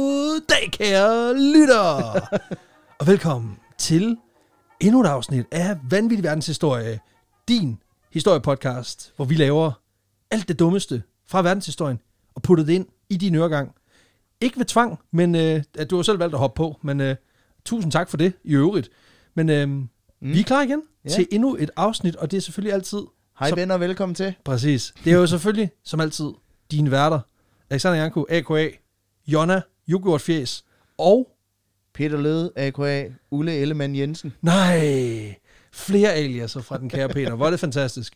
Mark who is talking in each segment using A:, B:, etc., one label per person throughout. A: Goddag, kære lytter! og velkommen til endnu et afsnit af Vanvittig Verdenshistorie, din historiepodcast, hvor vi laver alt det dummeste fra verdenshistorien og putter det ind i din øregang. Ikke ved tvang, men øh, at du har selv valgt at hoppe på, men øh, tusind tak for det i øvrigt. Men øh, mm. vi er klar igen
B: Ja.
A: til endnu et afsnit, og det er selvfølgelig altid...
B: Hej
A: som-
B: Ben og velkommen til.
A: Præcis. Det er jo selvfølgelig, som altid, dine værter. Alexander Janko, AKA, Jonna, Jogurtfjæs og...
B: Peter Løde, a.k.a. Ulle Ellemann Jensen.
A: Nej, flere aliaser fra den kære Peter. Hvor er det fantastisk.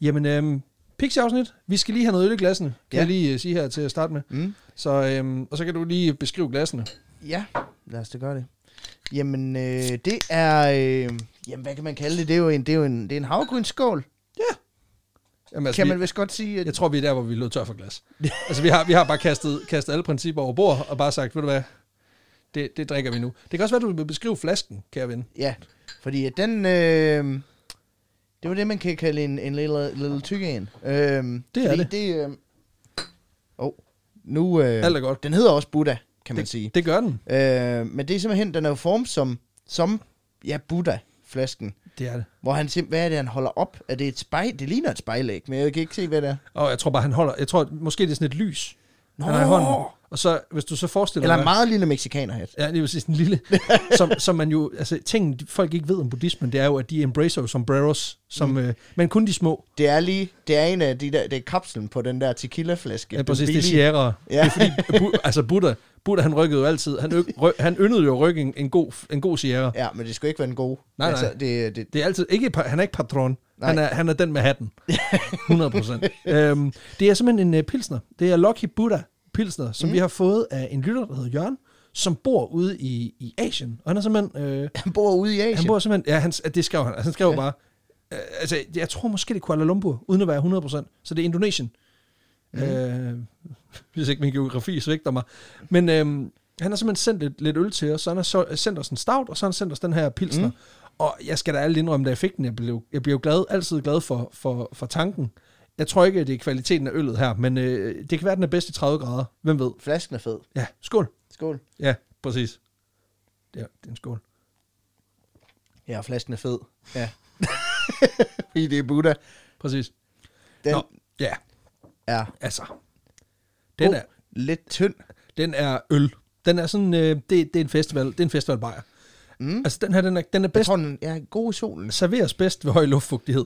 A: Jamen, øhm, Pixie-afsnit. Vi skal lige have noget øl i glassene, kan ja.
B: Ja.
A: jeg lige øh, sige her til at starte med.
B: Mm.
A: Så, øhm, og så kan du lige beskrive glassene.
B: Ja, lad os da gøre det. Jamen, øh, det er... Øh, jamen, hvad kan man kalde det? Det er jo en, det er jo en, det er en havregrynsskål, altså,
A: Jamen,
B: kan
A: Altså, vi-
B: man vist godt sige. At,
A: Jeg tror, vi er der, hvor vi lød tør for glas. altså, vi har, vi har bare kastet, kastet alle principper over bord og bare sagt, ved du hvad, det, det drikker vi nu. Det kan også være, du vil beskrive flasken, kære ven.
B: Ja, fordi at den... Øh, det var det, man kan kalde en, en lille, lille tykke en. Øh, det er
A: det.
B: det øh, oh, nu... Øh,
A: Alt er godt.
B: Den hedder også Buddha, kan man
A: det,
B: sige.
A: Det gør den.
B: Øh, men det er simpelthen, den er jo formet som, som ja, Buddha-flasken.
A: Det er det.
B: Hvor han simpelthen, hvad er det, han holder op? Er det et spejl? Det ligner et spejlæg, men jeg kan ikke se, hvad det er.
A: Og jeg tror bare, han holder... Jeg tror, måske det er sådan et lys,
B: Nå.
A: han har i hånden. Og så, hvis du så forestiller
B: Eller
A: dig...
B: en meget lille mexikaner hat.
A: Ja, lige præcis en lille, som, som man jo, altså ting, de- folk ikke ved om buddhismen, det er jo, at de embracer jo sombreros, som, mm. øh, men kun de små.
B: Det er lige, det er en af de der, det er kapslen på den der tequila-flaske.
A: Ja,
B: Den
A: præcis, det er
B: billige.
A: sierra. Ja.
B: Ja.
A: Det er fordi, bu, altså Buddha, Buddha han rykkede jo altid, han, øk, ry, han yndede jo at rykke en, en, god, en god sierra. Ja.
B: Ja, men det skulle ikke være den gode. Altså,
A: Nej, nej.
B: Det, det,
A: Det er altid, ikke, pa- han er ikke patron,
B: Nej.
A: han er, han er den med hatten. 100 procent. øhm, det er simpelthen en uh, pilsner. Det er Lucky Buddha pilsner, som mm. vi har fået af en lytter, der hedder Jørgen, som bor ude i, i Asien. Og han er simpelthen... Øh,
B: han bor ude i Asien.
A: Han bor simpelthen, ja, han, det skrev han, han skrev ja. bare, øh, altså, jeg tror måske, det er Kuala Lumpur, uden at være 100%, så det er Indonesien. Mm. Øh, hvis ikke min geografi svigter mig. Men øh, han har simpelthen sendt lidt, lidt øl til os, så han har så, øh, sendt os en stout, og så har han sendt os den her pilsner. Mm. Og jeg skal da alle indrømme, da jeg fik den, jeg blev, jeg blev glad, altid glad for, for, for tanken. Jeg tror ikke, det er kvaliteten af øllet her, men øh, det kan være, den er bedst i 30 grader. Hvem ved?
B: Flasken er fed.
A: Ja, skål.
B: Skål.
A: Ja, præcis. Ja, det er en skål.
B: Ja, flasken er fed. Ja. Fordi det er Buddha.
A: Præcis.
B: Den
A: Nå, ja.
B: er
A: Altså, den
B: god,
A: er,
B: lidt tynd.
A: den er øl. Den er sådan, øh, det, det er en festival, det er en festivalbajer. Mm. Altså den her, den er, den er
B: Jeg
A: bedst,
B: tror, den er god i solen.
A: serveres bedst ved høj luftfugtighed.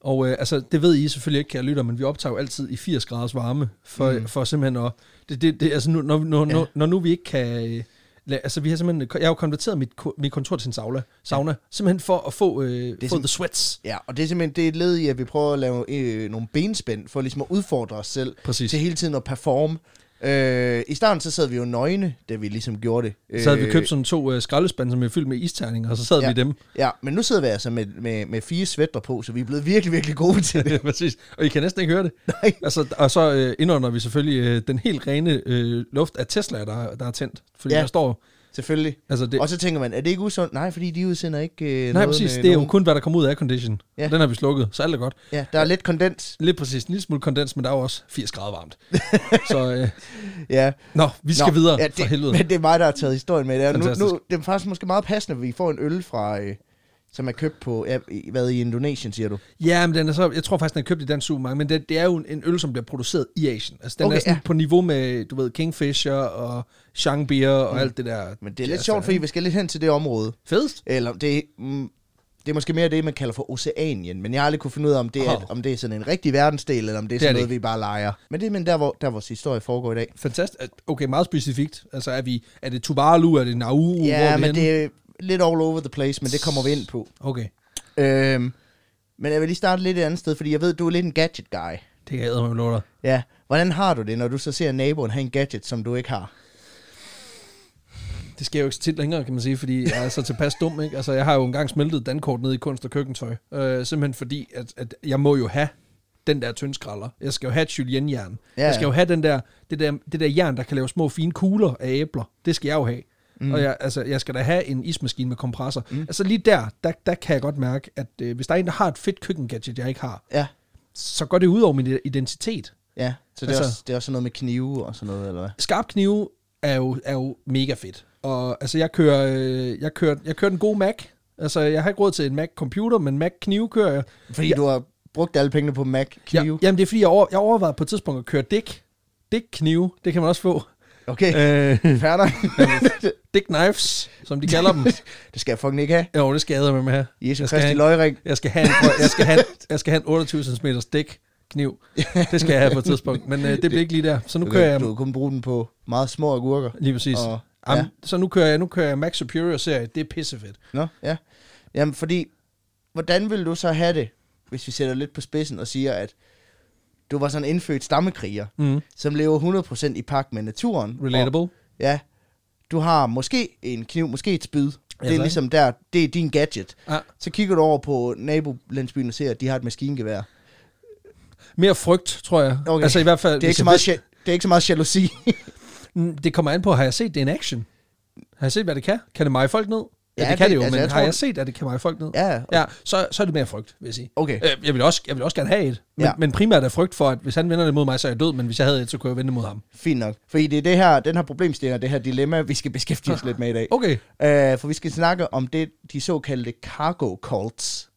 A: Og øh, altså, det ved I selvfølgelig ikke, kære lytter, men vi optager jo altid i 80 graders varme, for, mm. for simpelthen at, det, det, det, altså nu, når, når, ja. når, når nu vi ikke kan, øh, la, altså vi har simpelthen, jeg har jo konverteret mit, ko- mit kontor til en sauna, sauna ja. simpelthen for at få, øh, få
B: simpel-
A: the sweats.
B: Ja, og det er simpelthen det er et led i, at vi prøver at lave øh, nogle benspænd, for ligesom at udfordre os selv
A: Præcis.
B: til hele tiden at performe. Øh, I starten så sad vi jo nøgne, da vi ligesom gjorde det. Øh,
A: Så havde vi købt sådan to øh, skraldespande, som er fyldt med isterninger, og så sad ja.
B: ja,
A: vi i dem.
B: Ja, men nu sidder vi altså med, med, med fire svætter på, så vi er blevet virkelig, virkelig gode til det.
A: ja, præcis. Og I kan næsten ikke høre det.
B: Nej.
A: Altså, og så øh, indånder vi selvfølgelig øh, den helt rene øh, luft af Tesla, der, der er tændt. Fordi ja.
B: Ja.
A: der står...
B: Selvfølgelig.
A: Altså det,
B: Og så tænker man, er det ikke usundt? Nej, fordi de udsender ikke øh,
A: nej,
B: noget
A: præcis.
B: med
A: Det er jo
B: nogen-
A: kun, hvad der kommer ud af aircondition.
B: Ja.
A: Ja. Den har vi slukket, så alt er godt.
B: Ja, der er lidt kondens.
A: Lidt præcis. En lille smule kondens, men der er jo også 80 grader varmt. så øh,
B: Ja.
A: nå, vi skal nå, videre ja, det, for
B: det,
A: helvede.
B: Men det er mig, der har taget historien med. Det er, nu,
A: Fantastisk.
B: nu, det er faktisk måske meget passende, at vi får en øl fra, øh, som er købt på, ja, i- hvad i Indonesien, siger du?
A: Ja, men den er så, jeg tror faktisk, den er købt i den supermarked, men det, det er jo en, en øl, som bliver produceret i Asien. Altså, den okay,
B: Okay,
A: er sådan ja.
B: ja.
A: på niveau med, du ved, Kingfisher og Shangbeer og mm. alt det der.
B: Men det er lidt
A: jazz
B: sjovt,
A: der,
B: fordi
A: ikke?
B: vi skal lidt hen til det område.
A: Fedest?
B: Eller det, mm, det er måske mere det, man kalder for Oceanien, men jeg har aldrig kunne finde ud af, om det, er,
A: Åh.
B: om det er sådan en rigtig verdensdel, eller om det er
A: Det er
B: sådan
A: det
B: noget, vi bare leger. Men det er men der, hvor, der, vores historie foregår i dag.
A: Fantastisk. Okay, meget specifikt. Altså, er, vi, er det Tuvalu? Er det Nauru? Hvor er
B: Ja,
A: vi
B: men
A: henne?
B: det er lidt all over the place, men det kommer vi ind på.
A: Okay,
B: Øhm, men jeg vil lige starte lidt et andet sted, fordi jeg ved, du er lidt en gadget-guy.
A: det kan jeg æde med dig.
B: Ja, hvordan har du det, når du så ser naboen have en gadget, som du ikke har?
A: Det sker jo ikke så tit længere, kan man sige, fordi jeg er så tilpas dum, ikke? Altså, jeg har jo engang smeltet dankort ned i kunst- og køkkentøj. Øh, simpelthen fordi, at, at jeg må jo have den der tyndskræller. Jeg skal jo have et julienjern. Ja,
B: Ja,
A: ja. Jeg
B: ja.
A: skal jo have den der, det, der, det der jern, der kan lave små fine kugler af æbler. Det skal jeg jo have. Mm. Og jeg, altså, jeg skal da have en ismaskine med kompressor. Mm. Altså lige der, der, der kan jeg godt mærke, at øh, hvis der er en, der har et fedt køkkengadget, jeg ikke har,
B: Ja,
A: så går det ud over min identitet.
B: ja. Så det, er
A: Altså-
B: også, det er også sådan noget med knive og sådan noget, eller hvad?
A: Skarpknive er jo, er jo mega fedt. Og altså, jeg kører, øh, jeg kører, jeg kører en god Mac. Altså, jeg har ikke råd til en Mac-computer, men Mac-knive kører jeg. Ja.
B: Fordi ja. du har brugt alle pengene på Mac
A: Ja,
B: knive. Ja.
A: jamen, det er fordi, jeg, over, jeg overvejede på et tidspunkt at køre dæk. Dæk-knive, det kan man også få.
B: Okay,
A: Øh,
B: færdig.
A: dæk-knives, som de kalder dem.
B: det skal jeg fucking ikke have.
A: Jo, det skal jeg med mig her. Jeg skal
B: Jesus Kristi
A: have-
B: løgring.
A: Jeg skal have en, jeg skal have, jeg skal have en 28 cm dæk kniv. Det skal jeg have på et tidspunkt, men øh, det bliver ikke lige der. Så nu
B: Du
A: kører
B: kan,
A: jeg
B: du kan kun bruge den på meget små agurker.
A: lige præcis.
B: Og,
A: Am,
B: ja.
A: Så nu kører jeg, nu kører jeg Max Superior serie. Det er pissefedt.
B: Nå, ja. Jamen, fordi, hvordan vil du så have det, hvis vi sætter lidt på spidsen og siger, at du var sådan en indfødt stammekriger,
A: Mm.
B: som lever 100% i pagt med naturen.
A: Relatable.
B: Og, ja, du har måske en kniv, måske et spyd. Det
A: tak.
B: er ligesom der, det er din gadget.
A: Ah,
B: Så kigger du over på nabolandsbyen og ser, at de har et maskingevær.
A: mere frygt, tror jeg.
B: Okay.
A: Altså i hvert fald
B: Det er,
A: hvis
B: ikke så
A: jeg
B: meget,
A: vidste-
B: ja, det er ikke så meget jalousi.
A: Mm, Det kommer an på, har jeg set det in action? Har jeg set, hvad det kan? Kan det meje folk ned? Ja,
B: Ja,
A: det kan det,
B: det-
A: jo, men
B: altså, jeg
A: har
B: tror-
A: jeg set, at det kan meje folk ned?
B: ja,
A: Ja, så, så er det mere frygt, vil jeg sige.
B: okay.
A: Øh, Jeg vil, også, jeg vil også gerne have et, men, ja.
B: Ja.
A: men primært er frygt for, at hvis han vender det mod mig, så er jeg død, men hvis jeg havde et, så kunne jeg vende det mod ham.
B: Fint nok. Fordi det er det her, den her problemstilling og det her dilemma, vi skal beskæftige os lidt med i dag.
A: Okay,
B: Øh, for vi skal snakke om det, de såkaldte cargo cults.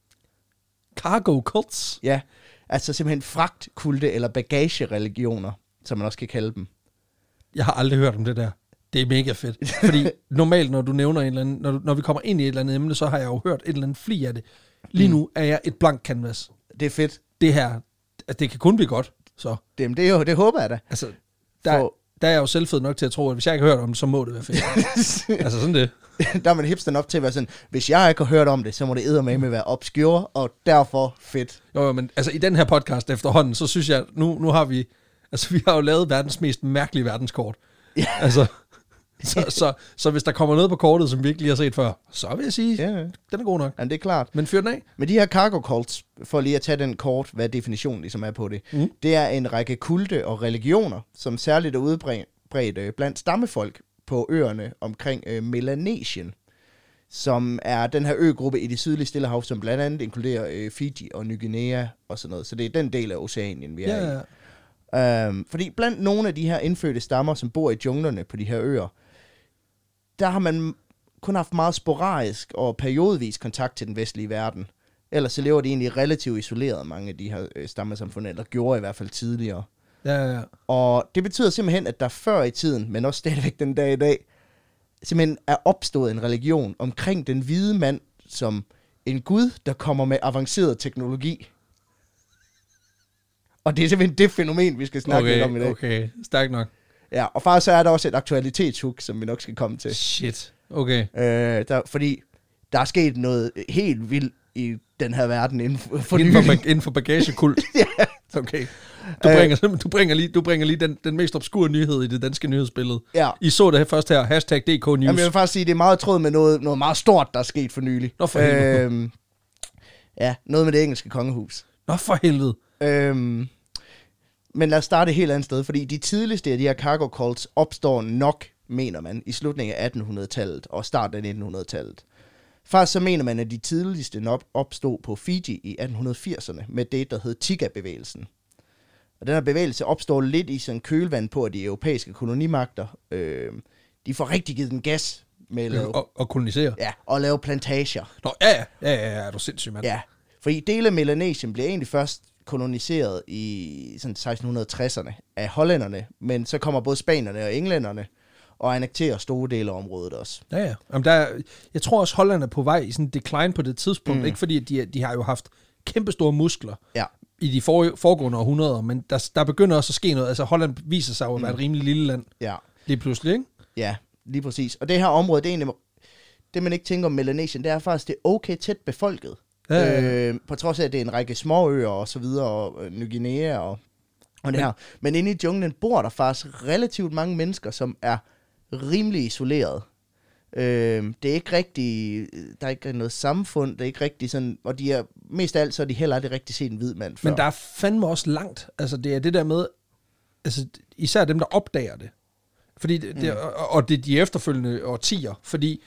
A: Cargo cults.
B: Ja, altså simpelthen fragtkulte eller bagagereligioner, som man også kan kalde dem.
A: Jeg har aldrig hørt om det der. Det er mega fedt. Fordi normalt, når du nævner en eller anden, når, du, når vi kommer ind i et eller andet emne, så har jeg jo hørt et eller andet fli af det. Lige nu er jeg et blank canvas.
B: Det er fedt.
A: Det her, at det kan kun blive godt. Så
B: Det, det, er jo, det håber jeg da.
A: altså, der,
B: For-
A: der er jeg jo selvfed nok til at tro, at hvis jeg ikke har hørt om det, så må det være fedt. altså sådan det.
B: der er man hipster nok til at være sådan, hvis jeg ikke har hørt om det, så må det eddermame være obscure, og derfor fedt.
A: Jo, jo, men altså i den her podcast efterhånden, så synes jeg, at nu, nu har vi, altså vi har jo lavet verdens mest mærkelige verdenskort.
B: Ja.
A: Altså, så, så, så, hvis der kommer noget på kortet, som vi ikke lige har set før, så vil jeg sige,
B: Ja, ja.
A: den er god nok.
B: Jamen, det er klart.
A: Men fyr den af.
B: Men de her cargo cults, for lige at tage den kort, hvad definitionen ligesom er på det,
A: Mm.
B: mm. det er en række kulte og religioner, som særligt er udbredt øh, blandt stammefolk på øerne omkring øh, Melanesien, som er den her øgruppe i det sydlige Stillehav, som blandt andet inkluderer øh, Fiji og Ny Guinea og sådan noget. Så det er den del af Oceanien, vi er i.
A: Ja, ja.
B: Øhm, fordi blandt nogle af de her indfødte stammer, som bor i junglerne på de her øer, der har man kun haft meget sporadisk og periodvis kontakt til den vestlige verden. Ellers så lever de egentlig relativt isoleret, mange af de her øh, stammesamfund, eller gjorde i hvert fald tidligere.
A: Ja, ja, ja.
B: Og det betyder simpelthen, at der før i tiden, men også stadigvæk den dag i dag, simpelthen er opstået en religion omkring den hvide mand som en gud, der kommer med avanceret teknologi. Og det er simpelthen det fænomen, vi skal snakke okay, lidt om i dag.
A: Okay, okay. Stærkt nok.
B: Ja, og faktisk så er der også et aktualitetshug, som vi nok skal komme til.
A: Shit. Okay.
B: Øh, der, fordi der er sket noget helt vildt i den her verden inden for, for
A: Inden for,
B: nylig.
A: bag- inden for bagagekult. ja. Okay. Du
B: Øh.
A: bringer, simpelthen- du bringer lige, du bringer lige den, den mest obskure nyhed i det danske nyhedsbillede.
B: Ja.
A: I så det her først her. Hashtag DK News.
B: Jamen, jeg vil faktisk sige, det er meget i tråd med noget, noget meget stort, der er sket for nylig.
A: Nå, for helvede.
B: Øhm, ja, noget med det engelske kongehus.
A: Nå for helvede.
B: Øhm, men lad os starte et helt andet sted, fordi de tidligste af de her cargo cults opstår nok, mener man, i slutningen af 1800-tallet og starten af 1900-tallet. Faktisk så mener man, at de tidligste nok opstod på Fiji i 1880'erne med det, der hed Tiga-bevægelsen. Og den her bevægelse opstår lidt i sådan kølvand på, at de europæiske kolonimagter, øh, de får rigtig givet den gas med at lave,
A: Og, og kolonisere.
B: ja, og lave plantager.
A: Nå, ja, ja, ja, ja, ja, er du sindssyg, mand.
B: Ja, fordi dele af Melanesien blev egentlig først koloniseret i sådan 1660'erne af hollænderne, men så kommer både spanierne og englænderne og annekterer store dele af området også.
A: Ja, ja. Jamen, der, er- jeg tror også, Holland er på vej i sådan en decline på det tidspunkt. Mm. Ikke fordi, at de, de har jo haft kæmpestore muskler
B: Ja,
A: i de for, foregående århundreder, men der, der begynder også at ske noget. Altså, Holland viser sig jo at være et rimelig lille land
B: ja,
A: lige pludselig, ikke?
B: ja, lige præcis. Og det her område, det er egentlig, det man ikke tænker om Melanesien, det er faktisk, det er okay tæt befolket.
A: Ja, ja,
B: Øh, på trods af, at det er en række småøer og så videre, og øh, Ny Guinea og, og det her. Men inde i junglen bor der faktisk relativt mange mennesker, som er rimelig isoleret. Øh, det er ikke rigtig, der er ikke noget samfund, det er ikke rigtig sådan, og de er, mest af alt så er de heller aldrig rigtig set en hvid mand før.
A: Men der er fandme også langt. Altså, det er det der med, altså, især dem, der opdager det. Fordi det, det, og- og det er de efterfølgende årtier, fordi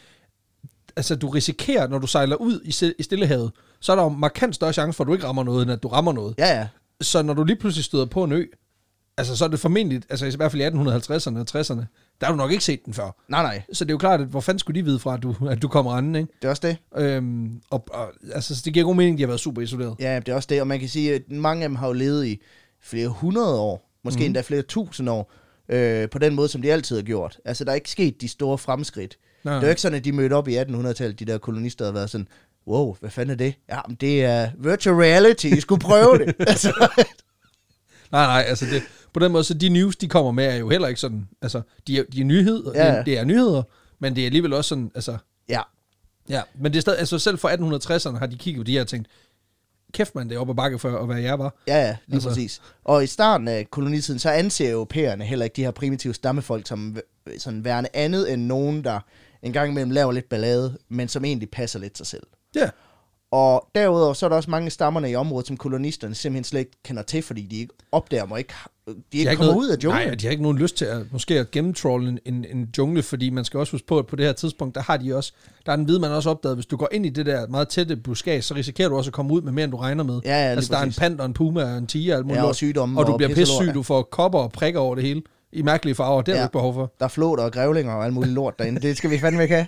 A: altså, du risikerer, når du sejler ud i, Sil- i Stillehavet, så er der jo markant større chance for, at du ikke rammer noget, end at du rammer noget.
B: Ja, ja.
A: Så når du lige pludselig støder på en ø, altså så er det formentlig, altså i hvert fald i 1850'erne og 60'erne, der har du nok ikke set den før.
B: Nej, nej.
A: Så det er jo klart, at hvor fanden skulle de vide fra, at du, at du kommer anden, ikke?
B: Det er også det.
A: Øhm, og, og, altså, så det giver god mening, at de har været super isoleret.
B: Ja, det er også det. Og man kan sige, at mange af dem har jo levet i flere hundrede år. Måske mm. endda flere tusind år. Øh, på den måde, som de altid har gjort. Altså, der er ikke sket de store fremskridt.
A: Nej.
B: Det er jo ikke sådan, at de mødte op i 1800-tallet, de der kolonister, og været sådan, wow, hvad fanden er det? Jamen, det er virtual reality, I skulle prøve det. altså,
A: Nej, nej, altså det, på den måde, så de news, de kommer med, er jo heller ikke sådan, altså, de er, de er nyheder,
B: Ja.
A: ja. det er nyheder, men det er alligevel også sådan, altså,
B: ja,
A: ja, men det er stadig, altså selv fra 1860'erne har de kigget på de her og tænkt, kæft man, det er op ad bakke for at være jer var.
B: Ja, ja, lige
A: Altså.
B: altså. præcis. Og i starten af kolonitiden, så anser europæerne heller ikke de her primitive stammefolk som v- sådan værende andet end nogen, der en gang imellem laver lidt ballade, men som egentlig passer lidt sig selv.
A: Ja,
B: Og derudover så er der også mange af stammerne i området, som kolonisterne simpelthen slet ikke kender til, fordi de ikke opdager dem og ikke, har- de ikke
A: har
B: kommer
A: noget-
B: ud af junglen.
A: Nej, og de har ikke nogen lyst til at, måske at gennemtrolle en, en, en jungle, fordi man skal også huske på, at på det her tidspunkt, der har de også, der er en viden, man også opdaget, hvis du går ind i det der meget tætte buskage, så risikerer du også at komme ud med mere, end du regner med.
B: Ja, ja, lige
A: altså, der er en
B: præcis.
A: pand og en puma og en tiger og alt muligt.
B: Ja, og
A: lort,
B: sygdomme
A: og du
B: og
A: bliver
B: pisselort,
A: pissesyg,
B: ja.
A: du får kopper og prikker over det hele i mærkelige farver, det har
B: Ja.
A: ja. du ikke behov for.
B: Der er flåter og grævlinger og alt muligt lort derinde. Det skal vi fandme ikke have.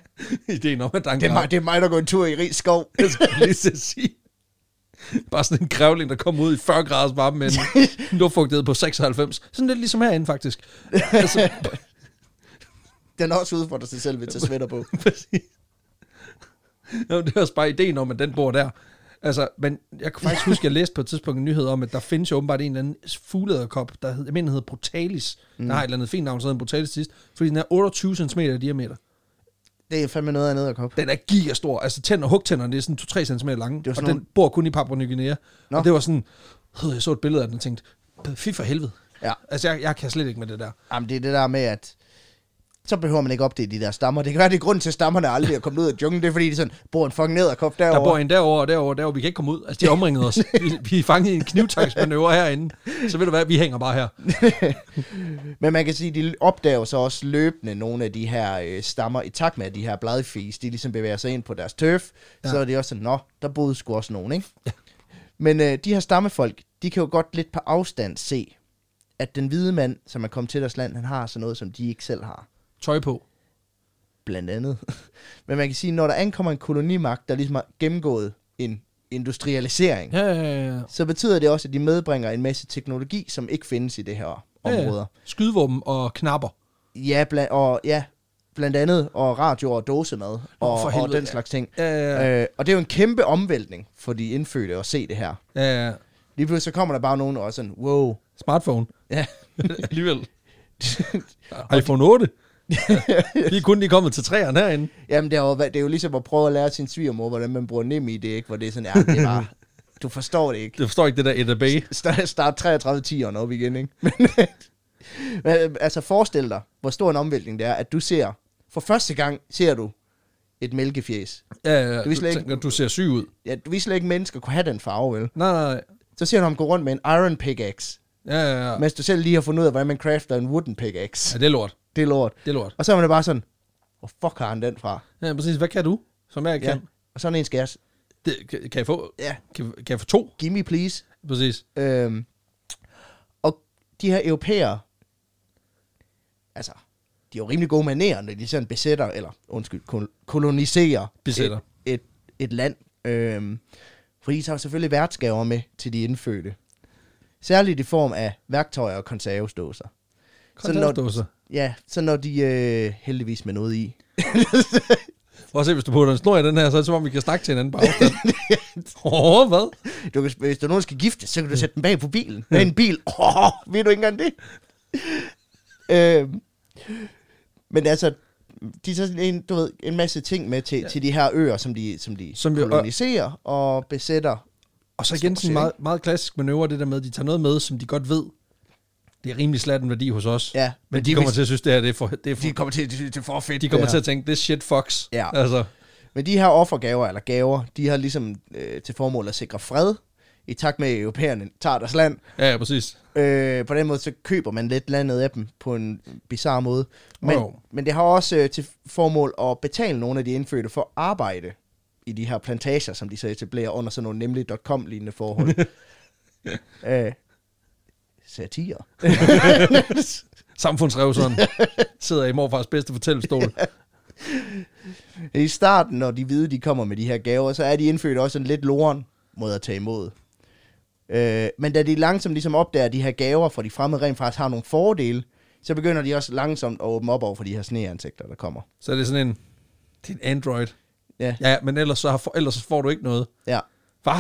A: Ideen om, at der er en
B: Det er,
A: grav.
B: mig, det er mig, der går en tur i rig skov.
A: Det skal jeg lige til at sige. Bare sådan en grævling, der kommer ud i 40 graders varme med en luftfugtighed på 96. Sådan lidt ligesom herinde, faktisk. Altså,
B: Den er også udfordrer sig selv ved at tage sweater på.
A: Præcis. Nå, det er også bare ideen om, at den bor der. Altså, men jeg kan faktisk huske, at jeg læste på et tidspunkt en nyhed om, at der findes jo åbenbart en eller anden fuglederkop, der hed, jeg mener, den hedder Brutalis. Mm. Der har et eller andet fint navn, så hedder den Brutalis sidst, fordi den er 28 cm i diameter.
B: Det er fandme noget andet at koppe.
A: Den er gigastor. Altså, tænder, hugtænderne, det er sådan 2-3 cm lange,
B: var
A: og
B: sådan
A: den
B: nogle-
A: bor kun i Papua Ny Guinea.
B: Nå.
A: Og det var sådan, øh, jeg så et billede af den og tænkte, fy for helvede.
B: Ja.
A: Altså, jeg, jeg kan slet ikke med det der.
B: Jamen, det er det der med, at så behøver man ikke opdage de der stammer. Det kan være, det er grunden til, at stammerne aldrig er kommet ud af junglen. Det er, fordi de sådan, bor en fucking nederkop derovre.
A: Der bor en derovre og derovre og derovre. Vi kan ikke komme ud. Altså, de har omringet os. Vi, vi er fanget i en knivtaksmanøvre herinde. Så ved du hvad, vi hænger bare her.
B: Men man kan sige, at de opdager så også løbende nogle af de her øh, stammer, i takt med, at de her bladfis, de ligesom bevæger sig ind på deres tøf. Ja.
A: Ja.
B: Så er det også sådan, nå, der boede sgu også nogen, ikke? Men øh, de her stammefolk, de kan jo godt lidt på afstand se, at den hvide mand, som er kommet til deres land, han har sådan noget, som de ikke selv har.
A: Tøj på.
B: blandt andet. Men man kan sige, når der ankommer en kolonimagt, der ligesom har gennemgået en industrialisering, ja.
A: Ja, ja, ja, ja.
B: så betyder det også, at de medbringer en masse teknologi, som ikke findes i det her områder.
A: Ja, skydevåben og knapper.
B: Ja, ja, bla- og, ja blandt andet og radio og dåsemad og,
A: for
B: og
A: helvede,
B: den
A: ja.
B: slags ting.
A: Ja, ja, ja.
B: Øh, og det er jo en kæmpe omvæltning for de indfødte at se det her.
A: ja, ja.
B: Lige pludselig så kommer der bare nogen og er sådan, wow.
A: Smartphone.
B: Ja,
A: Alligevel. iPhone 8. De er kun lige kommet til træerne herinde.
B: Jamen, det er, jo, hvad- det er jo ligesom at prøve at lære sin svigermor, hvordan man bruger nem i det, ikke? Hvor det er sådan, ja, det er bare, du forstår det ikke.
A: Jeg forstår ikke det der Edda Bay.
B: Start, start 33-10'eren op igen, ikke? Men, men, altså forestil dig, hvor stor en omvæltning det er, at du ser, for første gang ser du et mælkefjes.
A: Ja, ja, ja.
B: Du er slet
A: Du,
B: ikke-
A: tænker, du ser syg ud.
B: Ja, du vidste slet ikke, at mennesker kunne have den farve, vel?
A: Nej, nej, nej.
B: Så ser du ham gå rundt med en iron pickaxe,
A: Ja, ja, ja.
B: mens du selv lige har fundet ud af, hvordan man crafter en wooden pickaxe.
A: Ja, det er lort.
B: Det er lort.
A: Det er lort.
B: Og så er man da bare sådan, hvor oh, fuck har han den fra?
A: Ja, præcis. Hvad kan du, som jeg
B: Ja.
A: kan?
B: Og sådan en skal jeg... s-
A: Det, kan, kan jeg få?
B: Ja,
A: Kan, kan jeg få to?
B: give me please.
A: Præcis.
B: Øhm, og de her europæere, altså, de er jo rimelig gode manerer, når de sådan besætter, eller undskyld, kol- koloniserer
A: Besætter.
B: Et, et, et land. Øhm, fordi de tager selvfølgelig værtsgaver med til de indfødte. Særligt i form af værktøjer og konservesdåser. Så når-
A: Kontaktdåser.
B: Ja, så når de øh, heldigvis med noget i.
A: Prøv at se, hvis du putter en snor i den her, så er det som om, vi kan snakke til hinanden på afstand. Åh, oh, hvad?
B: Du kan, hvis der nogen skal gifte, så kan du sætte den bag på bilen. Med en bil. Oh, ved du ikke engang det? øhm, men altså, de tager sådan en, du ved, en masse ting med til, ja. til de her øer, som de, som de som
A: Som vi- og-
B: koloniserer og, og besætter.
A: Og så
B: Altså,
A: igen sådan en meget, meget klassisk manøvre, det der med, at de tager noget med, som de godt ved, det er rimelig slat en værdi hos os.
B: Ja,
A: men,
B: men
A: men
B: de
A: de kommer
B: vil-
A: til at synes, det her det er for... Det er for de,
B: kommer til, til, til for fedt.
A: de kommer til at tænke, det er shit fucks.
B: Ja.
A: Altså,
B: Men de her offergaver, eller gaver, de har ligesom øh, til formål at sikre fred, i takt med, at europæerne tager deres land.
A: ja, ja, præcis.
B: Øh, på den måde, så køber man lidt landet af dem på en bizarre måde. Men,
A: Jo.
B: men det har også øh, til formål at betale nogle af de indfødte for arbejde i de her plantager, som de så etablerer under sådan nogle nemlig .com-lignende forhold. øh, satire.
A: Samfundsrevseren sidder i morfars bedste fortællestol.
B: I starten, når de hvide de kommer med de her gaver, så er de indfødt også en lidt loren måde at tage imod. Øh, men da de langsomt ligesom opdager, at de her gaver fra de fremmede rent faktisk har nogle fordele, så begynder de også langsomt at åbne op over for de her sneansigter, der kommer.
A: Så er det sådan en, det er en android.
B: Ja,
A: Ja, ja, men ellers, så har, for, ellers så får du ikke noget.
B: ja,
A: Hvad?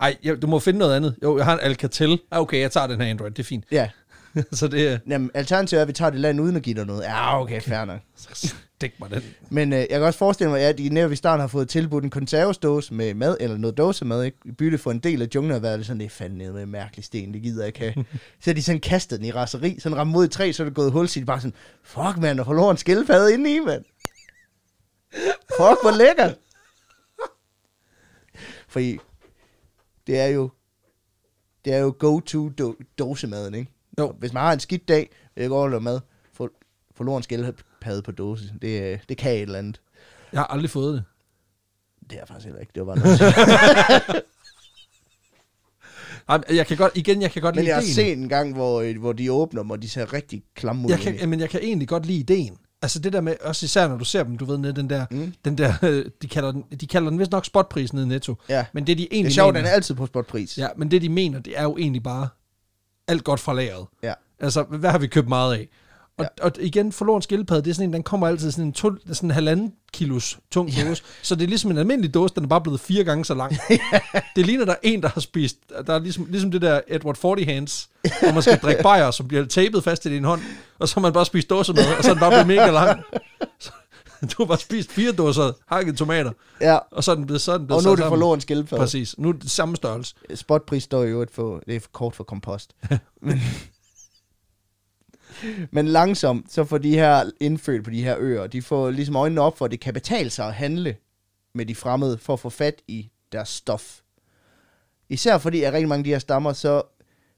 A: Ej, jeg, du må finde noget andet. Jo, jeg har en Alcatel. Ah, okay, jeg tager den her Android, det er fint.
B: ja.
A: så det er...
B: Jamen, alternativet er, at vi tager det land uden at give dig noget. Ja, okay, fair nok.
A: Dæk mig den.
B: Men øh, jeg kan også forestille mig, at de netop i starten har fået tilbudt en konservesdåse med mad, eller noget dåsemad, ikke? I bytte for en del af junglen, og været det sådan, det er fandme nede med en mærkelig sten, det gider jeg ikke have. så har de sådan kastet den i raseri, sådan ramt mod et træ, så er det gået hul, så de bare sådan, fuck mand, der forlår en skildpadde inde i, mand. Fuck, hvor lækkert. Fordi det er jo, det er jo go-to do- dåsemaden, ikke?
A: Jo.
B: Og Hvis man har en skidt dag, vil jeg godt lave mad, for, forlår en skildpadde på dåse, det, øh, det kan et eller andet.
A: Jeg har aldrig fået det.
B: Det er jeg faktisk heller ikke. Det var bare noget.
A: Ej, men jeg kan godt, igen, jeg kan godt
B: Men
A: lide
B: jeg har
A: ideen.
B: set en gang, hvor, øh, hvor de åbner dem, og de ser rigtig klamme ud.
A: jeg kan, men jeg kan egentlig godt lide ideen. Altså det der med, også især når du ser dem, du ved, nede, den der, mm. den der øh, de, kalder den, de kalder den vist nok spotprisen nede i Netto.
B: Ja.
A: Men det de egentlig
B: det er sjovt, den
A: mener,
B: er altid på spotpris.
A: ja, men det de mener, det er jo egentlig bare alt godt fra lageret.
B: ja.
A: Altså, hvad har vi købt meget af? Og, ja. og igen, forloren skildpadde, det er sådan en, den kommer altid i sådan en, to, sådan en halvanden kilos tung ja. dåse. Så det er ligesom en almindelig dåse, den er bare blevet fire gange så lang. det ligner, der er en, der har spist, der er ligesom, ligesom det der Edward Forty Hands, hvor man skal drikke bajer, som bliver tapet fast i din hånd, og så har man bare spist dåse med, og så er den bare blevet mega lang. Så, du har bare spist fire dåser hakket tomater,
B: ja.
A: og så er den blevet sådan.
B: Og nu er det
A: sammen.
B: forlorens skildpadde.
A: Præcis, nu er det samme størrelse.
B: Spotpris står jo et for, det er for kort for kompost. men, men langsomt, så får de her indfødt på de her øer, de får ligesom øjnene op for, at det kan betale sig at handle med de fremmede, for at få fat i deres stof. Især fordi, at rigtig mange af de her stammer, så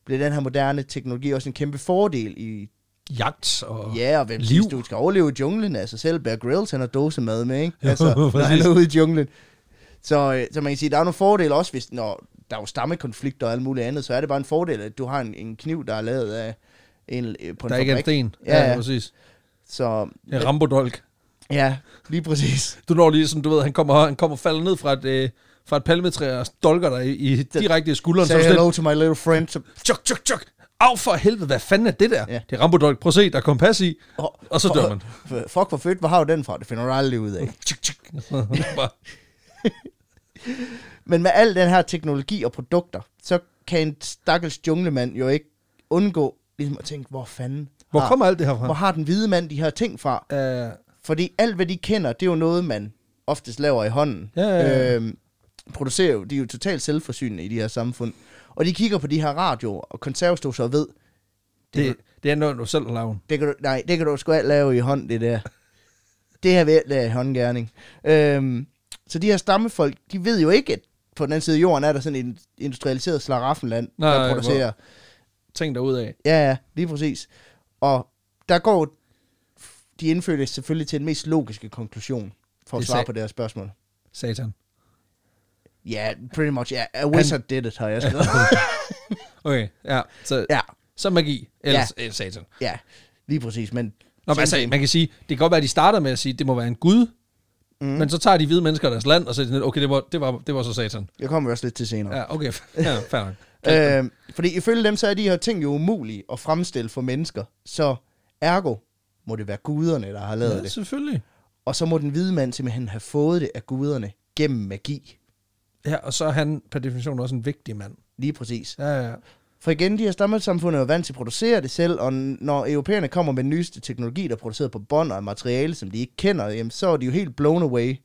B: bliver den her moderne teknologi også en kæmpe fordel i
A: Jagt og...
B: Ja, og hvem
A: Liv.
B: Liv. du skal overleve i junglen af sig selv. Bear Grylls, han har dåsemad med, ikke?
A: Jo,
B: Altså, når han
A: præcis.
B: er ude i junglen. Så, øh, så man kan sige, der er nogle fordele også, hvis, når der er jo stammekonflikter og alt muligt andet, så er det bare en fordel, at du har en, en kniv, der er lavet af en, øh, på en
A: Der er ikke en
B: fabrik.
A: sten.
B: Ja, ja.
A: præcis.
B: Så
A: En rambodolk.
B: ja, lige præcis.
A: Du når lige sådan, du ved, han kommer, han kommer falder ned fra et, øh, fra et palmetræ og dolker dig i, i, direkte i skulderen. Så er
B: Say
A: du sådan,
B: hello to my little friend. Så,
A: lidt, tjok, tjok, tjok. Au for helvede, hvad fanden er det der?
B: Ja.
A: Det er rambodolk. Prøv at se, der er kompas i.
B: og,
A: Og så dør man.
B: Fuck, hvor fedt, hvor har du den fra? Det finder du aldrig ud af.
A: Tjok, tjok. Bare,
B: Men med al den her teknologi og produkter, så kan en stakkels junglemand jo ikke undgå ligesom at tænke, hvor fanden
A: Hvor
B: har-
A: kommer alt det her fra?
B: Hvor har den hvide mand de her ting fra?
A: Uh,
B: Fordi alt, hvad de kender, det er jo noget, man oftest laver i hånden.
A: Ja, ja, ja.
B: Øhm, producerer jo, de er jo totalt selvforsynende i de her samfund. Og de kigger på de her radioer, og konservstoser og ved,
A: det, det, er noget, du selv har lavet.
B: det kan du, nej, det kan du sgu alt lave i hånd, det der. Det her ved er håndgærning. Øhm, så de her stammefolk, de ved jo ikke, at på den anden side af jorden er der sådan et industrialiseret slaraffenland,
A: Nej,
B: der
A: hvor-
B: producerer
A: Tænk dig ud af.
B: Ja, ja, lige præcis. Og der går de indfødte selvfølgelig til den mest logiske konklusion, for at
A: Det
B: svare
A: sag-
B: på deres spørgsmål.
A: Satan.
B: Ja, yeah, pretty much. Yeah. A wizard did it, har jeg skrevet.
A: Okay, ja. Så,
B: ja,
A: så magi. Ellers, ja. satan.
B: ja, lige præcis. Men
A: Nå, men altså, man kan sige, det kan godt være, at de starter med at sige, at det må være en gud. Mm. Men så tager de hvide mennesker deres land, og så er de sådan, lidt, okay, det var, det var, det var så satan.
B: jeg kommer også lidt til senere.
A: Ja, okay, ja, fair nok.
B: Ja. Øh, fordi ifølge dem, så er de her ting jo umulige at fremstille for mennesker. Så ergo må det være guderne, der har lavet ja,
A: Ja,
B: det.
A: selvfølgelig.
B: Og så må den hvide mand simpelthen have fået det af guderne gennem magi.
A: Ja, og så er han per definition også en vigtig mand.
B: Lige præcis.
A: Ja, ja.
B: For igen, de her stammesamfund er jo vant til at producere det selv, og når europæerne kommer med den nyeste teknologi, der er produceret på bånd og af materiale, som de ikke kender, jamen, så er de jo helt blown away.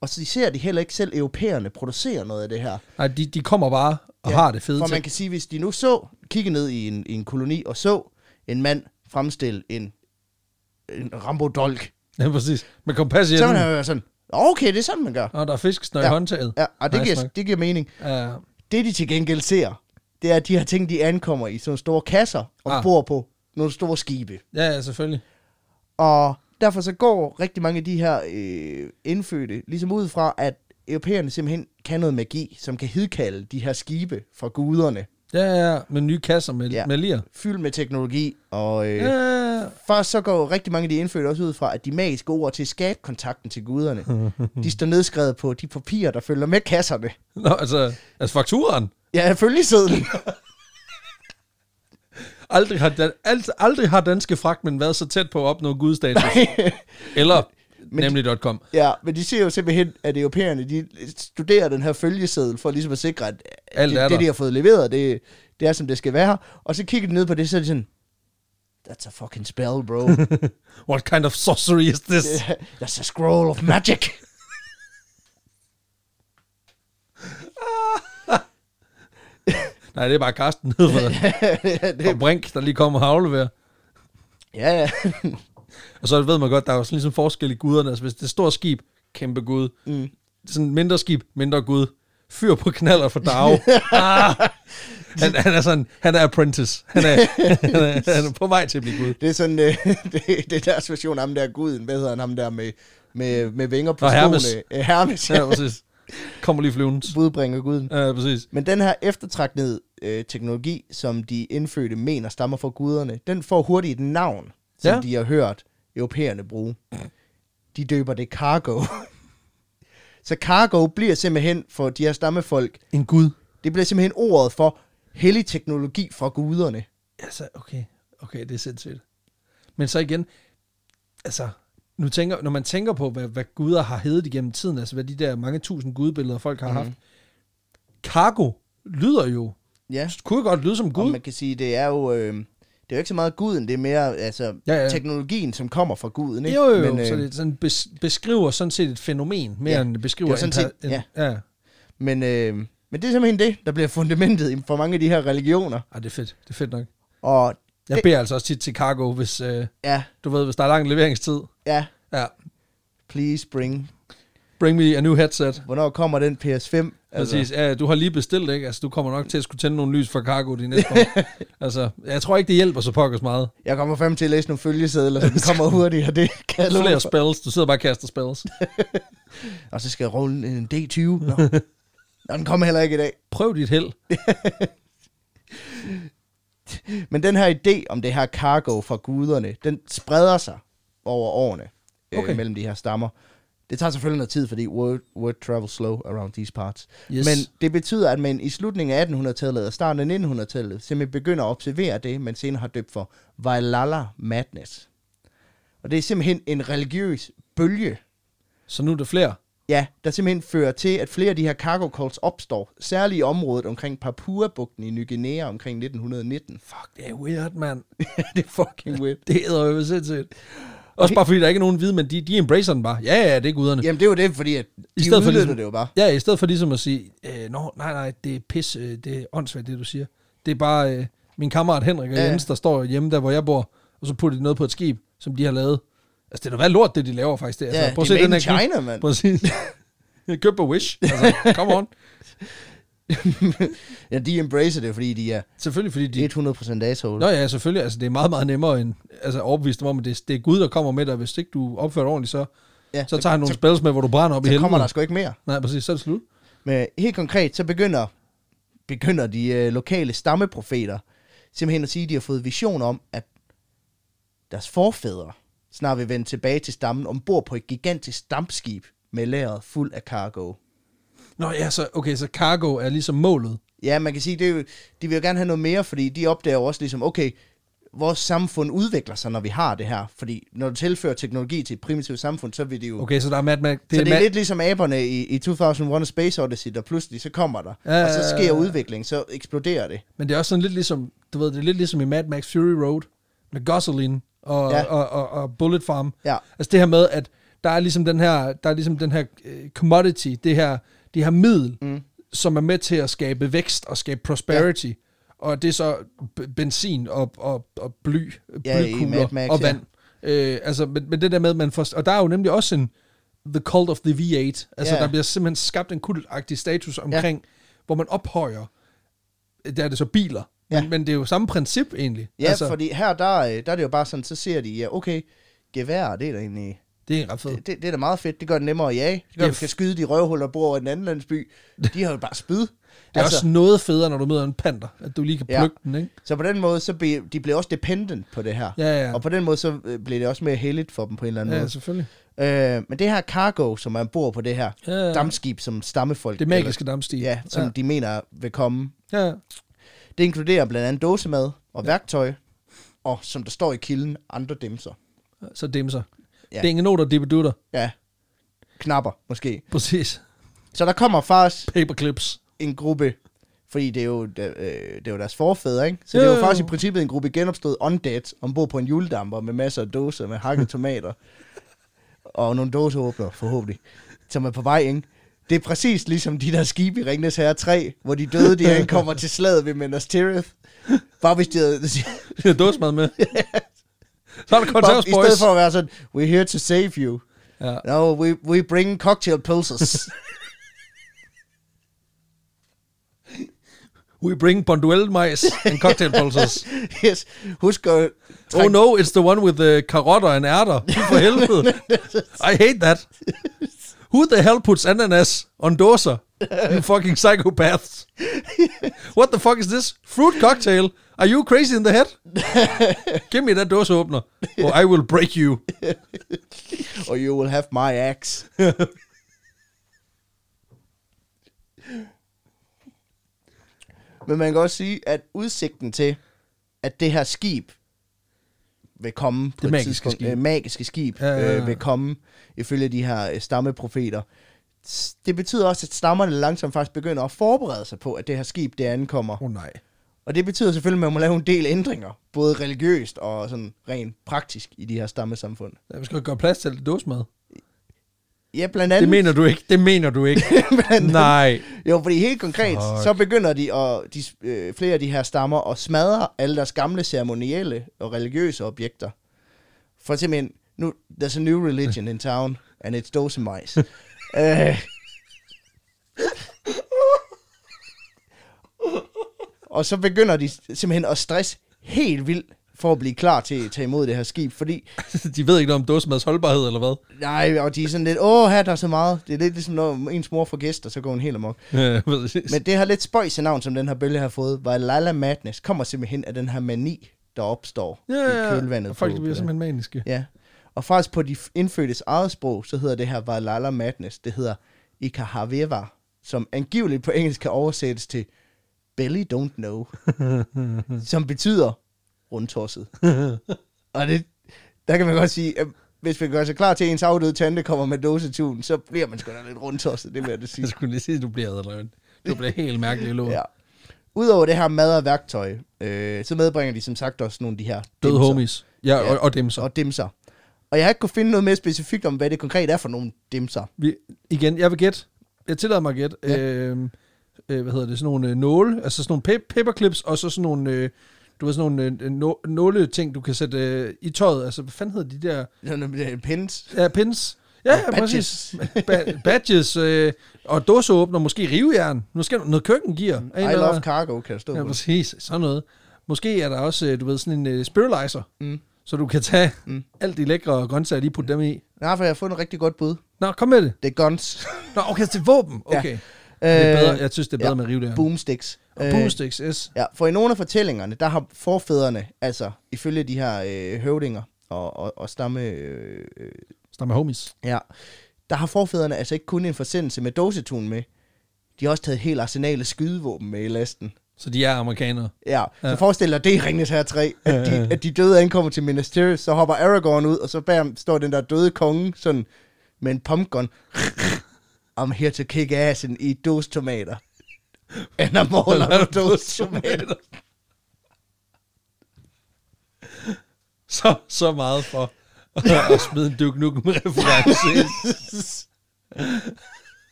B: Og så ser de heller ikke selv europæerne producere noget af det her.
A: Nej, de, de kommer bare og ja, har det fede
B: For man
A: til.
B: kan sige, hvis de nu så, kigge ned i en, i en koloni og så en mand fremstille en, en rambodolk,
A: Ja, præcis. Men kompas i
B: så vil
A: enden,
B: han jo være sådan, okay, det er sådan, man gør.
A: og der er fiskesnøj ja. i
B: Ja.
A: håndtaget.
B: Ja, og det,
A: Nice
B: giver,
A: nok.
B: det giver mening.
A: Ja.
B: Det, de til gengæld ser, det er, at de her ting, de ankommer i sådan nogle store kasser, og
A: Ah.
B: ah. bor på nogle store skibe.
A: ja, ja, selvfølgelig.
B: Og derfor så går rigtig mange af de her øh, indfødte ligesom ud fra, at europæerne simpelthen kan noget magi, som kan hidkalde de her skibe fra guderne.
A: Ja, ja, med nye kasser med,
B: Ja.
A: ja. med lir.
B: fyldt med teknologi, og øh,
A: Ja, ja,
B: Først så går rigtig mange af de indfødte også ud fra, at de magiske ord til at skabe kontakten til guderne, de står nedskrevet på de papirer, der følger med kasserne.
A: Nå, altså, altså fakturaen.
B: Ja, følgesedlen.
A: Aldrig har, dan, alt, aldrig har danske fragtmænd været så tæt på at opnå gudstatus. Eller
B: Men-
A: nemlig.com.
B: ja, men de ser jo simpelthen, at europæerne de studerer den her følgeseddel for ligesom at sikre, at
A: Alt
B: det,
A: er
B: det,
A: der.
B: de har fået leveret, det, det er, som det skal være. Og så kigger de ned på det, så er de sådan, that's a fucking spell, bro.
A: What kind of sorcery is this?
B: that's a scroll of magic.
A: Nej, det er bare Karsten nede for
B: det,
A: og Brink, der lige kommer og afleverer.
B: ja, ja.
A: Og så ved man godt, der er jo sådan ligesom forskel i guderne. Altså, hvis det er et stort skib, kæmpe gud. Mm. Sådan mindre skib, mindre gud. Fyr på knaller for dag. ah! han, han, er sådan, han er apprentice. Han er, han, er, han er på vej til at blive gud.
B: Det er sådan, øh, det, det er deres version af ham der guden, hvad hedder han, ham der med, med, med vinger på
A: Nå, Hermes.
B: skoene. Øh, Hermes,
A: Ja,
B: ja.
A: præcis. Kommer lige flyvende.
B: Budbringer guden.
A: Ja, præcis.
B: Men den her eftertragtede øh, teknologi, som de indfødte mener stammer fra guderne, den får hurtigt et navn, som ja.
A: Ja.
B: de har hørt europæerne bruge. De døber det cargo. Så cargo bliver simpelthen for de her stammefolk,
A: En gud.
B: det bliver simpelthen ordet for hellig teknologi fra guderne.
A: Altså, okay. Okay, det er sindssygt. Men så igen, altså, nu tænker, når man tænker på, hvad, hvad guder har heddet igennem tiden, altså hvad de der mange tusind gudbilleder, folk har mm. haft. Cargo lyder jo,
B: Ja.
A: kunne jo godt lyde som
B: Og
A: gud.
B: man kan sige, det er jo... Øh, det er jo ikke så meget guden, det er mere altså, ja,
A: Ja,
B: ja.
A: ja.
B: teknologien, som kommer fra guden. Ikke?
A: Jo, jo, jo.
B: Men, øh,
A: så det sådan bes, beskriver sådan set et fænomen, mere
B: Ja,
A: ja, end det beskriver
B: det er sådan
A: en,
B: set-
A: en,
B: ja.
A: ja.
B: men, øh, men det er simpelthen det, der bliver fundamentet i- for mange af de her religioner.
A: Ej, det er fedt. Det er fedt nok.
B: Og
A: Jeg
B: Det-
A: det... beder altså også tit til Cargo, hvis, øh,
B: ja,
A: du ved, hvis der er lang leveringstid.
B: ja,
A: Ja.
B: please bring.
A: Bring me a new headset.
B: Hvornår kommer den PS5?
A: Altså. Præcis. Ja, du har lige bestilt, ikke? Altså, du kommer nok til at skulle tænde nogle lys fra Cargo de næste år. altså, jeg tror ikke, det hjælper så pokkers meget.
B: Jeg kommer frem til at læse nogle følgesedler, så den kommer hurtigere. Det kan jeg love
A: Flere
B: for.
A: spells. Du sidder bare og kaster spells.
B: Og så skal jeg rulle en D20. Nå. Nå, den kommer heller ikke i dag.
A: Prøv dit held.
B: Men den her idé om det her cargo fra guderne, den spreder sig over årene okay.
A: Okay.
B: øh, mellem de her stammer. Det tager selvfølgelig noget tid, fordi word, word travel slow around these parts.
A: Yes.
B: Men det betyder, at man i slutningen af 1800-tallet og starten af 1900-tallet simpelthen begynder at observere det, man senere har døbt for Vailala Madness. Og det er simpelthen en religiøs bølge,
A: Så nu er der flere.
B: ja, der simpelthen fører til, at flere af de her cargo calls opstår, særligt i området omkring Papua-bugten i Ny Guinea omkring 1919.
A: Fuck, det er weird, mand.
B: det er fucking weird.
A: Det hedder jo sindssygt. Også bare fordi, der ikke er nogen hvide, men de, de embracer den bare. Ja, ja, det er guderne.
B: Jamen det er jo det, fordi at de
A: I stedet for
B: udnytter
A: ligesom-
B: det jo bare.
A: Ja, i stedet for ligesom at sige, øh, Nå, nej, nej, det er pis, øh, det er åndssvagt, det du siger. Det er bare øh, min kammerat Henrik og
B: Ja, ja.
A: ja. Jens, der står hjemme der, hvor jeg bor, og så putter de noget på et skib, som de har lavet. Altså, det er da hvad lort, det de laver faktisk. Det. Altså,
B: Ja, det er made in
A: kniv.
B: China, mand.
A: Præcis. Jeg køber Wish. Altså, come on.
B: ja, de embracer det, fordi de er
A: Selvfølgelig, fordi de...
B: 100% asshole.
A: Nå ja, selvfølgelig. Altså, det er meget, meget nemmere end altså, overbevist dem om, at det, det er Gud, der kommer med dig. Hvis ikke du opfører dig ordentligt, så,
B: ja,
A: så tager han nogle spells med, hvor du brænder op i
B: så, så
A: helvede.
B: kommer der sgu ikke mere.
A: Nej, præcis. Så er det slut.
B: Men helt konkret, så begynder, begynder de øh, lokale stammeprofeter simpelthen at sige, at de har fået vision om, at deres forfædre snart vil vende tilbage til stammen ombord på et gigantisk dampskib med lageret fuld af cargo.
A: Nå ja, så, okay, så cargo er ligesom målet.
B: Ja, man kan sige, det er jo, de vil jo gerne have noget mere, fordi de opdager jo også ligesom, okay, vores samfund udvikler sig, når vi har det her. Fordi når du tilfører teknologi til et primitivt samfund, så vil det jo... Okay.
A: Okay, så der er matematik.
B: Det så det
A: ma-
B: er lidt ligesom aberne i, i 2001 A Space Odyssey, der pludselig så kommer der,
A: Ja,
B: og så
A: ja, ja,
B: sker
A: ja.
B: udvikling, så eksploderer det.
A: Men det er også sådan lidt ligesom, du ved, det er lidt ligesom i Mad Max Fury Road med Gosselin og,
B: Ja.
A: ja. og, og, og Bullet Farm.
B: Ja.
A: Altså det her med, at der er ligesom den her, der er ligesom den her øh, commodity, det her, det her middel, mm. som er med til at skabe vækst og skabe prosperity. Ja. Og det er så b- benzin og, og, og bly,
B: Ja, i Mad
A: blykugler
B: Max,
A: og
B: ja.
A: vand. Øh, altså, men, men det der med, at man får... Og der er jo nemlig også en The Cult of the V8. Altså,
B: Ja.
A: der bliver simpelthen skabt en kultagtig status omkring, ja. hvor man ophøjer der er det så biler.
B: Ja.
A: Ja. Men, men det er jo samme princip egentlig. Altså,
B: Ja, altså. fordi her, der, øh, der er det jo bare sådan, så ser de, ja, okay, gevær, det er da egentlig,
A: Det er ret fedt.
B: Det, det, det er da meget fedt. Det gør det nemmere at jage. Det gør,
A: Det er
B: at man kan skyde de røvhuller, der bor over i den anden landsby. De har jo bare spyd.
A: Det er altså, også noget federe, når du møder en panter, at du lige kan
B: Ja.
A: plukke ja. den, ikke?
B: Så på den måde, så blev, de blev også dependent på det her.
A: Ja, ja.
B: Og på den måde, så øh, blev det også mere heldigt for dem på en eller anden
A: Ja,
B: måde.
A: selvfølgelig.
B: Øh, men det her cargo, som man bor på det her
A: Ja, ja.
B: dammskib, som stammefolk...
A: Det magiske dammstige.
B: Eller, ja, som ja. de mener vil komme.
A: ja. ja.
B: Det inkluderer blandt andet dåsemad og værktøj, og som der står i kilden, andre dimser.
A: Så dimser.
B: Ja.
A: Ja. Dingenoter, dippedutter.
B: Ja, knapper måske.
A: Præcis.
B: Så der kommer faktisk
A: Paperclips.
B: en gruppe, fordi det er jo, øh, det er jo deres forfædre, ikke? Så det
A: Jo,
B: er jo
A: jo.
B: faktisk i princippet en gruppe genopstået undead, ombord på en juledamper med masser af dåser med hakket tomater. og nogle dåseåbner, forhåbentlig, som er på vej, ikke? Det er præcis ligesom de der skibe i Ringnes Herre 3, hvor de døde, de ankommer til slaget ved Minas Tirith. Bare hvis de havde,
A: Det er dåsmad med. Så er der
B: bare,
A: Contaus
B: i
A: Boys.
B: stedet for at være sådan, we're here to save you.
A: Ja.
B: No, we, we bring cocktail pulses.
A: We bring bonduelle mice and cocktail pulses.
B: yes. Husk at
A: oh no, it's the one with the karotter and ærter. Fy For helvede. I hate that. Who the hell puts ananas on dåser? You fucking psychopaths. What the fuck is this? Fruit cocktail? Are you crazy in the head? Give me that dåseåbner, or I will break you.
B: or you will have my axe. Men man kan også sige, at udsigten til, at det her skib vil komme på
A: Det
B: et
A: magiske
B: tidspunkt,
A: skib.
B: Øh, magiske skib
A: Ja, ja, ja.
B: Øh, vil komme, ifølge de her øh, stammeprofeter, s- det betyder også, at stammerne langsomt faktisk begynder at forberede sig på, at det her skib, det ankommer.
A: Oh nej.
B: Og det betyder selvfølgelig, at man må lave en del ændringer, både religiøst og sådan rent praktisk i de her stammesamfund.
A: Ja, Vi skal gøre plads til alt det dåsemad.
B: Ja, blandt andet...
A: Det mener du ikke. Det mener du ikke.
B: Blandt
A: nej.
B: Jo, fordi helt konkret, Fuck.
A: Fuck.
B: så begynder de, og de øh, flere af de her stammer at smadre alle deres gamle ceremonielle og religiøse objekter. For simpelthen, nu, there's a new religion in town, and it's dose mice. øh. Og så begynder de simpelthen at stresse helt vildt for at blive klar til at tage imod det her skib, fordi,
A: De ved ikke noget om dåsemads holdbarhed, eller hvad?
B: nej, og de er sådan lidt, åh, her er der er så meget. Det er lidt ligesom, når ens mor får gæster, så går hun helt amok.
A: Øh, præcis.
B: Men det her lidt spøjse navn, som den her bølge har fået, var Lala Madness, kommer simpelthen af den her mani, der opstår
A: ja, ja,
B: i kølvandet.
A: ja. Folk de
B: på,
A: bliver
B: på det.
A: simpelthen maniske.
B: Ja. Og faktisk på de f- indfødtes eget sprog, så hedder det her var Lala Madness, det hedder Ikahaveva, som angiveligt på engelsk kan oversættes til Belly Don't Know, som betyder rundtosset. Og det, der kan man godt sige, at hvis man gør sig klar til, at ens afdøde tante kommer med dåsetun, så bliver man sgu da lidt rundtosset, det vil jeg da sige.
A: Jeg skulle lige sige, at du bliver adløn. Du bliver helt mærkelig lort.
B: Ja.
A: Ja.
B: Udover det her mad og værktøj, øh, så medbringer de som sagt også nogle af de her
A: Døde
B: dimser
A: homies. Ja,
B: Ja.
A: og, og dem så.
B: og dimser. Og jeg har ikke kunnet finde noget mere specifikt om, hvad det konkret er for nogle dimser.
A: Vi, igen, jeg vil gætte. Jeg tillader mig at gætte.
B: Ja.
A: Ja. Øhm, øh, hvad hedder det? Sådan nogle øh, nåle. Altså sådan nogle pe- paperclips, og så sådan nogle... Øh, du ved sådan nogle øh, nå- nåle-ting, du kan sætte øh, i tøjet. Altså, hvad fanden hedder de der...
B: Sådan nogle, øh, Pins.
A: Ja, pins. Ja, ja
B: badges.
A: præcis. Ba- badges øh, og dåseåbner, måske rivejern. Måske noget køkkengear.
B: I love cargo, kan der stå
A: Ja,
B: på.
A: præcis. Sådan noget. Måske er der også, øh, du ved, sådan en øh, spiralizer,
B: Mm.
A: så du kan tage
B: Mm.
A: mm. alt de lækre grøntsager, lige putte dem i.
B: Nej, for jeg har fundet et rigtig godt bud.
A: Nå, kom med det.
B: Det er guns.
A: Nå, okay, til våben.
B: Ja. Øh,
A: Okay. Ja. Det er bedre. Jeg synes, det er bedre
B: ja. øh,
A: ja. med rive der.
B: Boomsticks.
A: Og boomsticks, yes.
B: Ja, for i nogle af fortællingerne, der har forfædrene, altså ifølge de her øh, høvdinger og, og, og stamme, øh, øh,
A: Stammer homies.
B: Ja. Der har forfædrene altså ikke kun en forsendelse med dåsetun med. De har også taget et helt arsenal af skydevåben med i lasten.
A: Så de er amerikanere.
B: Ja, så
A: Ja.
B: forestil dig, det er Ringnes her 3, at de, at de døde ankommer til Minas Tirith, så hopper Aragorn ud, og så bag ham står den der døde konge, sådan med en pumpgun. I'm here to kick assen i dåstomater. And I'm all out of dåstomater.
A: så, så meget for at smide en Duke Nukem reference ind.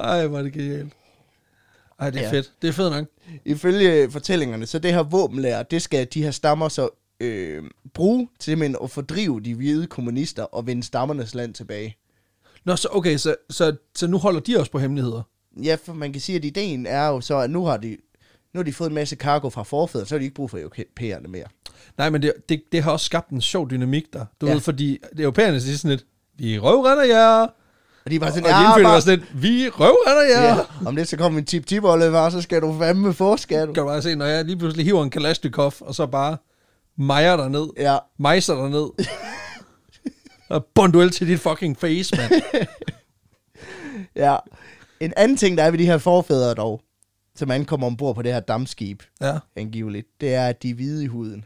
A: Ej, hvor er det genialt. Ej, det er
B: Ja.
A: ja. fedt. Det er fedt nok.
B: Ifølge fortællingerne, så det her våbenlærer, det skal de her stammer så øh, bruge til simpelthen at fordrive de hvide kommunister og vinde stammernes land tilbage.
A: Nå, så okay, så, så, så nu holder de også på hemmeligheder.
B: Ja, for man kan sige, at ideen er jo så, at nu har de Nu har de fået en masse cargo fra forfædrene, så har de ikke brug for europæerne mere.
A: Nej, men det, det, det har også skabt en sjov dynamik der. Du
B: Ja.
A: ja. ved, fordi det europæerne siger sådan lidt, vi røvrender jer.
B: Og de er bare
A: Og
B: sådan,
A: de
B: "Ah,
A: indfødte
B: bare-
A: var sådan lidt, vi røvrender jer. Ja.
B: Ja. Om lidt så kommer en tip tip Oliver, så skal du fandme få, skal du.
A: Kan du bare se, når jeg lige pludselig hiver en kalashnikov, og så bare mejer dig ned, ja.
B: Ja,
A: mejser dig ned. og bonduel til dit fucking face, mand.
B: ja. En anden ting, der er ved de her forfædre dog, som ankommer ombord på det her dammskib,
A: Ja,
B: angiveligt, det er, at de er hvide i huden.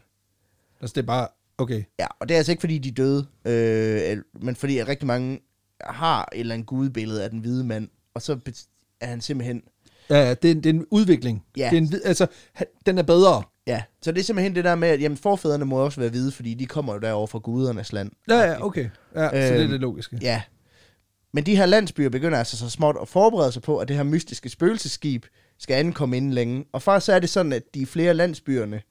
A: altså det er bare, okay.
B: Ja, og det er altså ikke, fordi de er døde, øh, el- men fordi at rigtig mange har et eller andet gudebillede af den hvide mand, og så bet- er han simpelthen...
A: Ja, ja, det er, en- det er en udvikling.
B: Ja.
A: Det er en, vid- altså, ha- den er bedre.
B: Ja, så det er simpelthen det der med, at jamen, forfædrene må også være hvide, fordi de kommer jo derover fra gudernes land.
A: Ja, ja, okay. Ja, øh, så det er
B: Øhm,
A: det logiske.
B: Ja. Men de her landsbyer begynder altså så småt at forberede sig på, at det her mystiske spøgelseskib skal ankomme inden længe. Og faktisk så er det sådan, at de flere landsbyerne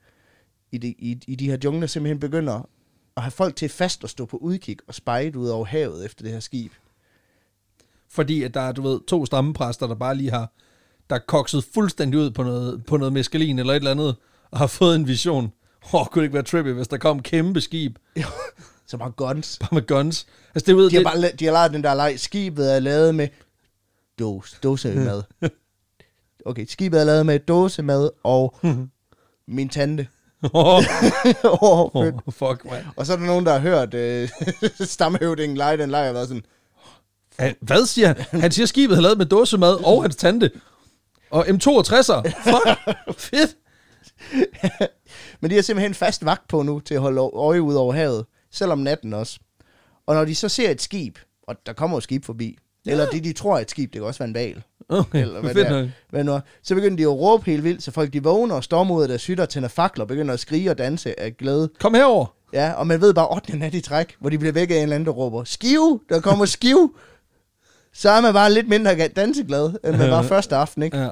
B: i de, i, i de her jungler simpelthen begynder at have folk til fast at stå på udkig og spejde ud over havet efter det her skib.
A: Fordi at der er, du ved, to stammepræster, der bare lige har, der er kokset fuldstændig ud på noget, på noget meskalin eller et eller andet, og har fået en vision. Åh, oh, kunne det ikke være trippy, hvis der kom et kæmpe skib,
B: Som har guns.
A: bare med guns. Altså, det ved
B: De har,
A: det,
B: bare, la- de har lavet den der leg, skibet er lavet med dåse, dåsemad. Okay, skibet er lavet med dåsemad og min tante.
A: Åh,
B: oh, fedt.
A: oh, fuck, man.
B: Og så er der nogen, der har hørt øh, stamhøvdingen lege den leg, og været sådan,
A: Han, hvad siger han? Han siger, skibet er lavet med dåsemad og hans tante. Og M62'er. Fuck, fedt.
B: Men de har simpelthen fast vagt på nu til at holde øje ud over havet, selv om natten også. Og når de så ser et skib, og der kommer jo skib forbi, ja. eller det de tror er et skib, det kan også være en val,
A: Okay,
B: eller hvad det
A: fedt
B: er,
A: nok.
B: hvad nu, er. så begynder de at råbe helt vildt, så folk de vågner og stormer ud af deres hytter, tænder fakler, og begynder at skrige og danse af glæde.
A: Kom herover.
B: Ja, og man ved bare 8. nat i træk, hvor de bliver væk af en eller anden, der råber, skive, der kommer skive. Så er man bare lidt mindre ga- danseglad, end man var første aften, ikke?
A: Ja.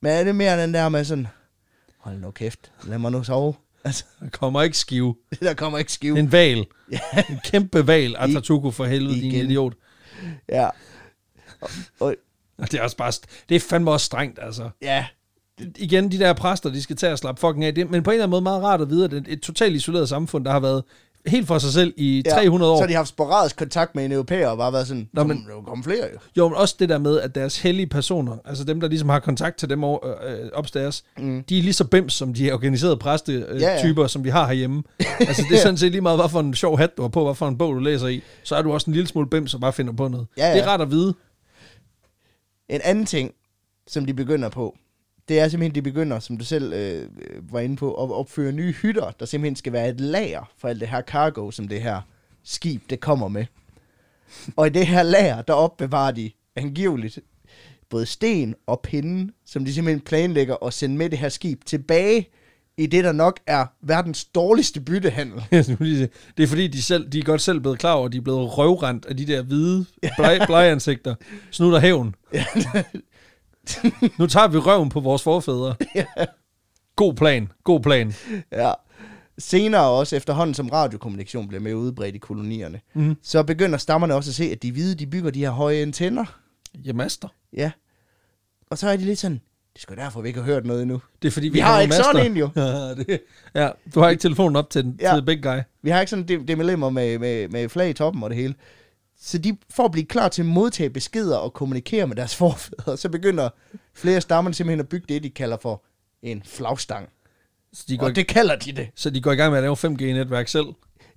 B: Men er det mere den der med sådan, hold nu kæft, lad mig nu sove. Altså,
A: Der kommer ikke skive.
B: der kommer ikke skive.
A: Det er en val. En kæmpe val. Atatuku for helvede, din
B: Igen.
A: idiot.
B: Ja. Og, og,
A: Og det er også bare, st- det er fandme også strengt, altså.
B: ja,
A: Igen, de der præster, de skal tage og slappe fucking af det, men på en eller anden måde meget rart at vide, at det er et totalt isoleret samfund, der har været helt for sig selv i
B: ja.
A: 300 år.
B: Så har de haft sporadisk kontakt med en europæer og bare været sådan,
A: Nå,
B: Nå,
A: men-
B: men, der kom flere jo.
A: Jo, men også det der med, at deres hellige personer, altså dem, der ligesom har kontakt til dem over, øh, opstairs, mm. de er lige så bims, som de organiserede præstetyper, øh,
B: Ja, ja.
A: ja, ja. som vi har herhjemme. Altså, det er sådan set lige meget, hvad for en sjov hat du har på, hvad for en bog du læser i, så er du også en lille smule bims og bare finder på noget.
B: Ja, ja.
A: Det er rart at vide.
B: En anden ting, som de begynder på, det er simpelthen, de begynder, som du selv øh, var inde på, at opføre nye hytter, der simpelthen skal være et lager for alt det her cargo, som det her skib, det kommer med. Og i det her lager, der opbevarer de angiveligt både sten og pinde, som de simpelthen planlægger at sende med det her skib tilbage i det, der nok er verdens dårligste byttehandel.
A: Jeg skulle lige sige, det er fordi, de, selv, de er godt selv blevet klar over, at de er blevet røvrendt af de der hvide blege, blegeansigter. Snutter hævn. nu tager vi røven på vores forfædre. God plan, god plan.
B: Ja. Senere også, efterhånden som radiokommunikation bliver mere udbredt i kolonierne,
A: Mhm.
B: mm. så begynder stammerne også at se, at de hvide, de bygger de her høje antenner.
A: Jeg master.
B: Ja. Og så er de lidt sådan, det er sgu derfor, vi ikke har hørt noget endnu.
A: Det er fordi, vi,
B: Vi har
A: jo
B: ikke
A: master.
B: sådan en, jo.
A: Ja, det, ja, du har ikke telefonen op til den ja.
B: Ja.
A: til big guy.
B: Vi har ikke sådan det, det med, med, med, med flag i toppen og det hele. Så de, for at blive klar til at modtage beskeder og kommunikere med deres forfædre, så begynder flere stammer simpelthen at bygge det, de kalder for en flagstang.
A: Så de går,
B: Og
A: det...
B: det kalder de det.
A: så de går i gang med at lave 5G-netværk selv.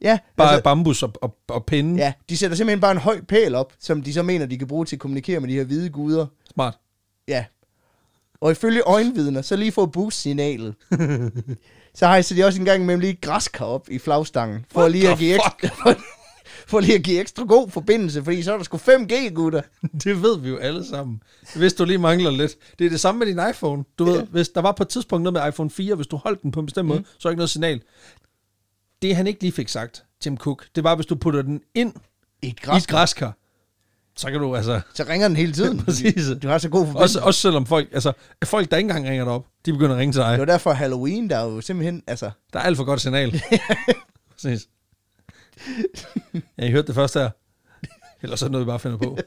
B: Ja,
A: Bare altså... bambus og, og, og pinde. Ja.
B: ja, de sætter simpelthen bare en høj pæl op, som de så mener, de kan bruge til at kommunikere med de her hvide guder.
A: Smart.
B: Ja. Og ifølge øjenvidner, så lige for at booste signalet, så har de også en gang imellem lige et græskar op i flagstangen, for,
A: What
B: lige at,
A: the
B: give ekstra, for, for lige at give ekstra god forbindelse, fordi så er der sgu 5G, gutter.
A: Det ved vi jo alle sammen. Hvis du lige mangler lidt. Det er det samme med din iPhone. Du ved, hvis der var på et tidspunkt noget med iPhone 4, hvis du holdt den på en bestemt mm. måde, så er der ikke noget signal. Det han ikke lige fik sagt, Tim Cook, det var, hvis du putter den ind
B: I et
A: Græsker. i et
B: græskar.
A: græskar, så kan du altså...
B: Så ringer den hele tiden.
A: Præcis.
B: Du har så god
A: Også,
B: forbindelse.
A: også selvom folk, altså, folk, der ikke engang ringer dig op, de begynder at ringe til dig.
B: Det var derfor Halloween, der er jo simpelthen, altså,
A: Der er alt for godt signal. Præcis. Ja, I hørte det først her. Eller sådan noget, vi bare finder på.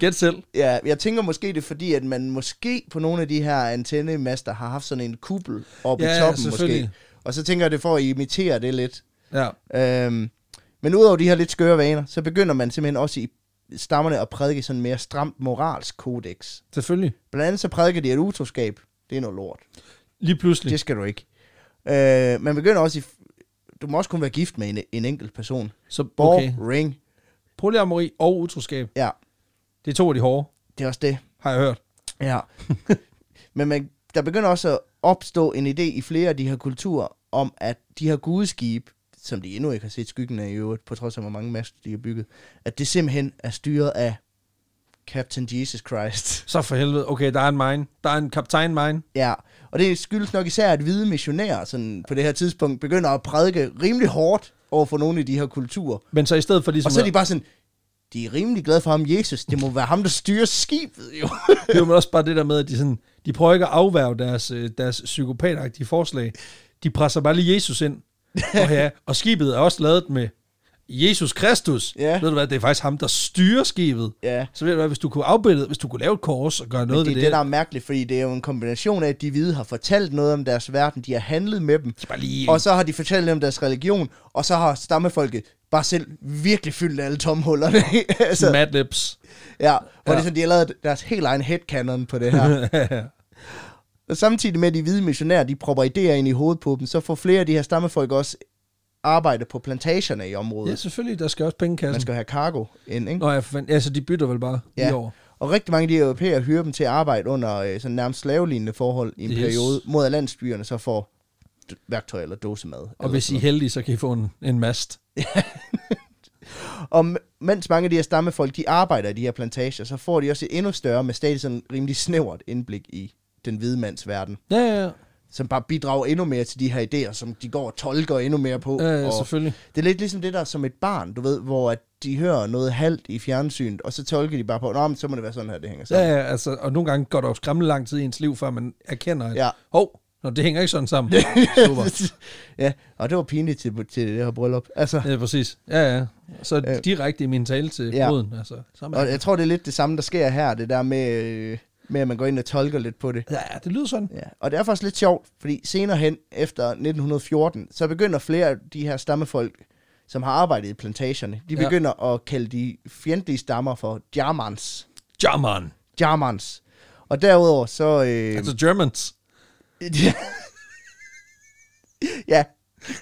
A: Gæt selv.
B: Ja, jeg tænker måske det er fordi, at man måske på nogle af de her antennemaster har haft sådan en kuppel oppe
A: Ja,
B: i
A: ja,
B: toppen måske.
A: selvfølgelig.
B: Og så tænker jeg, det er for at imitere det lidt.
A: Ja.
B: Øhm, men udover de her lidt skøre vaner, så begynder man simpelthen også i stammerne at prædike sådan en mere stramt moralsk kodex.
A: Selvfølgelig.
B: Blandt andet så prædiker de, at utroskab, det er noget lort.
A: Lige pludselig.
B: Det skal du ikke. Øh, man begynder også i... Du må også kun være gift med en, en enkelt person.
A: Så okay.
B: Boring. Okay.
A: Polyamori og utroskab.
B: Ja,
A: Det er to af de hårde,
B: det er også det.
A: har jeg hørt.
B: Ja. Men man, der begynder også at opstå en idé i flere af de her kulturer om, at de her gudeskibe, som de endnu ikke har set skyggen af i øvrigt, på trods af hvor mange master de har bygget, at det simpelthen er styret af Captain Jesus Christ.
A: Så for helvede. Okay, der er en mine. Der er en kaptajn mine.
B: Ja, og det skyldes nok især, at hvide missionærer sådan på det her tidspunkt begynder at prædike rimelig hårdt over for nogle af de her kulturer.
A: Men så i stedet for ligesom...
B: Og så er
A: at-
B: de bare sådan, de er rimelig glade for ham, Jesus. Det må være ham, der styrer skibet, jo.
A: Det er jo også bare det der med, at de, sådan, de prøver ikke at afværge deres, øh, deres psykopatagtige forslag. De presser bare lige Jesus ind. Og, ja, og skibet er også lavet med Jesus Kristus.
B: Ja.
A: Ved du hvad, det er faktisk ham, der styrer skibet.
B: Ja.
A: Så ved du hvad, hvis du kunne afbilde, hvis du kunne lave et kors og gøre noget
B: det er
A: ved
B: det,
A: det.
B: der er mærkeligt, fordi det er jo en kombination af, at de hvide har fortalt noget om deres verden, de har handlet med dem,
A: bare lige-
B: og så har de fortalt lidt om deres religion, og så har stammefolket bare selv virkelig fyldt alle tomhullerne. altså,
A: Mad Lips.
B: ja,
A: Ja.
B: hvor ja. det er sådan, de har lavet deres helt egen headcanon på det her. Og samtidig med, at de hvide missionærer, de propper idéer ind i hovedet på dem, så får flere af de her stammefolk også arbejde på plantagerne i området.
A: ja, selvfølgelig, der skal også pengekassen.
B: Man
A: Skal...
B: skal have cargo ind, ikke?
A: Nå, ja, for fanden. ja, så de bytter vel bare ja. i år.
B: Og rigtig mange af de europæere hyrer dem til at arbejde under øh, sådan nærmest slavelignende forhold i en yes.
A: Yes.
B: periode, mod at landsbyerne så får d- værktøj eller dåsemad.
A: Og
B: eller
A: hvis
B: sådan
A: I er heldige, så kan I få en, en mast.
B: noget. og m- mens mange af de her stammefolk, de arbejder i de her plantager, så får de også et endnu større, men stadig sådan rimelig snævert indblik i den hvide mands verden,
A: Ja, ja, ja.
B: som bare bidrager endnu mere til de her idéer, som de går og tolker endnu mere på.
A: Ja, ja,
B: og
A: selvfølgelig.
B: det er lidt ligesom det der som et barn, du ved, hvor at de hører noget halvt i fjernsynet, og så tolker de bare på, Nå, men så må det være sådan her, det hænger sammen.
A: Ja, ja, altså, og nogle gange går der jo skræmmende lang tid i ens liv, før man erkender, at
B: Ja.
A: ja. hov, nå, det hænger ikke sådan sammen. Super.
B: ja, og det var pinligt til, til det her bryllup. Altså,
A: Ja, præcis. Ja, ja. Så
B: Øh.
A: direkte i min tale til
B: Ja.
A: ja. bruden. Altså, sammen.
B: og jeg tror, det er lidt det samme, der sker her, det der med, øh, med at man går ind og tolker lidt på det.
A: Ja, det lyder sådan.
B: Ja. Og det er faktisk lidt sjovt, fordi senere hen, efter 1914, så begynder flere af de her stammefolk, som har arbejdet i plantagerne, de
A: Ja.
B: begynder at kalde de fjendtlige stammer for Germans.
A: German.
B: Øhm. Germans. Og derudover så... Øh,
A: Altså Germans.
B: ja,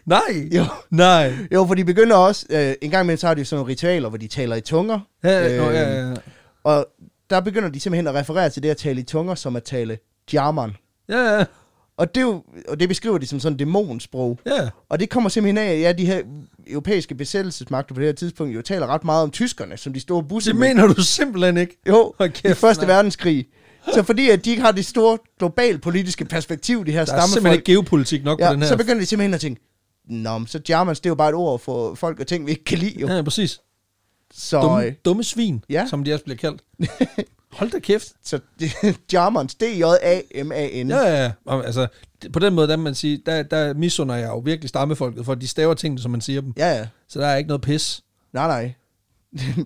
A: Nej.
B: jo.
A: Nej.
B: Jo, for de begynder også, øh, en gang imellem så har de jo sådan nogle ritualer, hvor de taler i tunger.
A: Ja, øh, nå, ja,
B: Øhm,
A: ja.
B: Og der begynder de simpelthen at referere til det at tale i tunger, som at tale jarman.
A: Ja, ja.
B: Og det, er jo, og det beskriver de som sådan et dæmonsprog.
A: ja.
B: Og det kommer simpelthen af, at ja, de her europæiske besættelsesmagter på det her tidspunkt jo taler ret meget om tyskerne, som de store busser.
A: Det mener du simpelthen ikke.
B: Jo,
A: Hold
B: i
A: kæft,
B: Første
A: mand.
B: Verdenskrig. Så fordi at de ikke har det store global politiske perspektiv, de her
A: Der er
B: stammefolk,
A: simpelthen ikke geopolitik nok ja, på den
B: ja,
A: her.
B: så begynder de simpelthen at tænke, Nå, men så Germans, det er jo bare et ord for folk og ting, vi ikke kan lide. Jo.
A: Ja, præcis.
B: Så,
A: Dumme,
B: øh,
A: dumme svin,
B: Ja.
A: ja. som de også bliver kaldt. Hold da kæft.
B: så Germans, D-J-A-M-A-N.
A: Ja, ja, ja. Og, altså, det- på den måde, der, man sige, der, der misunder jeg jo virkelig stammefolket, for de staver tingene, som man siger dem. Ja.
B: ja, ja.
A: Så der er ikke noget pis.
B: Nej, nej.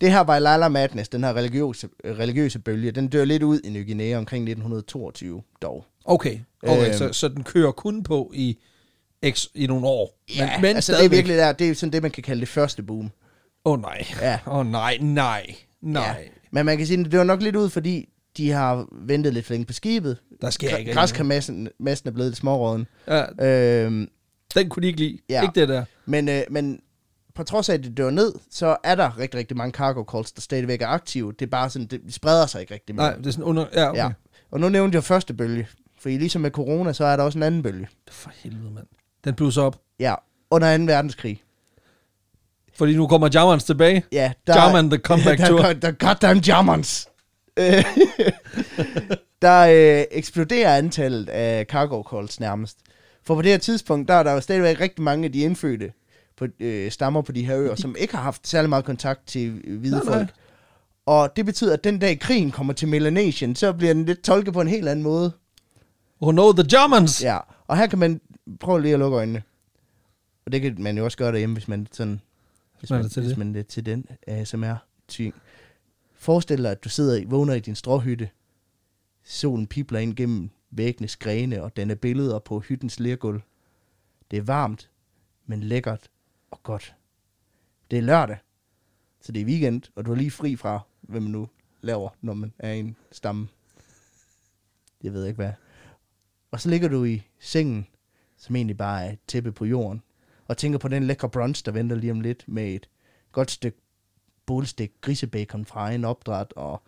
B: det her Vailala Madness, den her religiøse, øh, religiøse bølge, den dør lidt ud i Ny Guinea omkring 1922 dog.
A: Okay, okay
B: Øhm.
A: øhm. så, så den kører kun på i, x, i nogle år.
B: men, men altså det er virkelig der, det er sådan det, man kan kalde det første boom.
A: Åh oh, nej, åh
B: Ja.
A: ja. oh, nej, nej, nej. Ja.
B: Men man kan sige, at det var nok lidt ud, fordi de har ventet lidt for længe på skibet.
A: Der sker ikke rigtig
B: Græskarmassen massen er blevet lidt småråden.
A: Ja,
B: Øhm,
A: den kunne de ikke lide.
B: Ja.
A: Ja. Ikke det der.
B: men, øh, men på trods af, at det dør ned, så er der rigtig, rigtig mange cargo calls, der stadigvæk er aktive. Det er bare sådan, det spreder sig ikke rigtig mere.
A: Nej, det er sådan under... Ja, okay.
B: Ja.
A: Ja.
B: Og nu nævnte jeg første bølge, for ligesom med corona, så er der også en anden bølge.
A: For helvede, mand. Den blusser op.
B: Ja, under 2. verdenskrig.
A: Fordi nu kommer Jammerens tilbage.
B: Ja,
A: Jarman, the comeback
B: der,
A: tour.
B: Der, der goddamn Jarmans. Øh, der øh, eksploderer antallet af cargo calls nærmest. For på det her tidspunkt, der er der jo stadigvæk rigtig mange af de indfødte på, øh, stammer på de her øer, som ikke har haft særlig meget kontakt til øh, hvide
A: Nej, nej.
B: folk. Og det betyder, at den dag krigen kommer til Melanesien, så bliver den lidt tolket på en helt anden måde.
A: Oh no, the Germans! Ja.
B: Ja, og her kan man prøve lige at lukke øjnene. Og det kan man jo også gøre derhjemme, hvis man sådan... Hvis
A: Man
B: man,
A: er til
B: hvis
A: det.
B: man er til den ASMR. ting. Forestil dig, at du sidder i, vågner i din stråhytte. Solen pipler ind gennem væggenes grene og danner billeder på hyttens lergulv. Det er varmt, men lækkert og godt. Det er lørdag, så det er weekend, og du er lige fri fra, hvad man nu laver, når man er i en stamme. Jeg ved ikke hvad. Og så ligger du i sengen, som egentlig bare er et tæppe på jorden, og tænker på den lækre brunch, der venter lige om lidt, med et godt stykke bålstik grisebacon fra en opdræt, og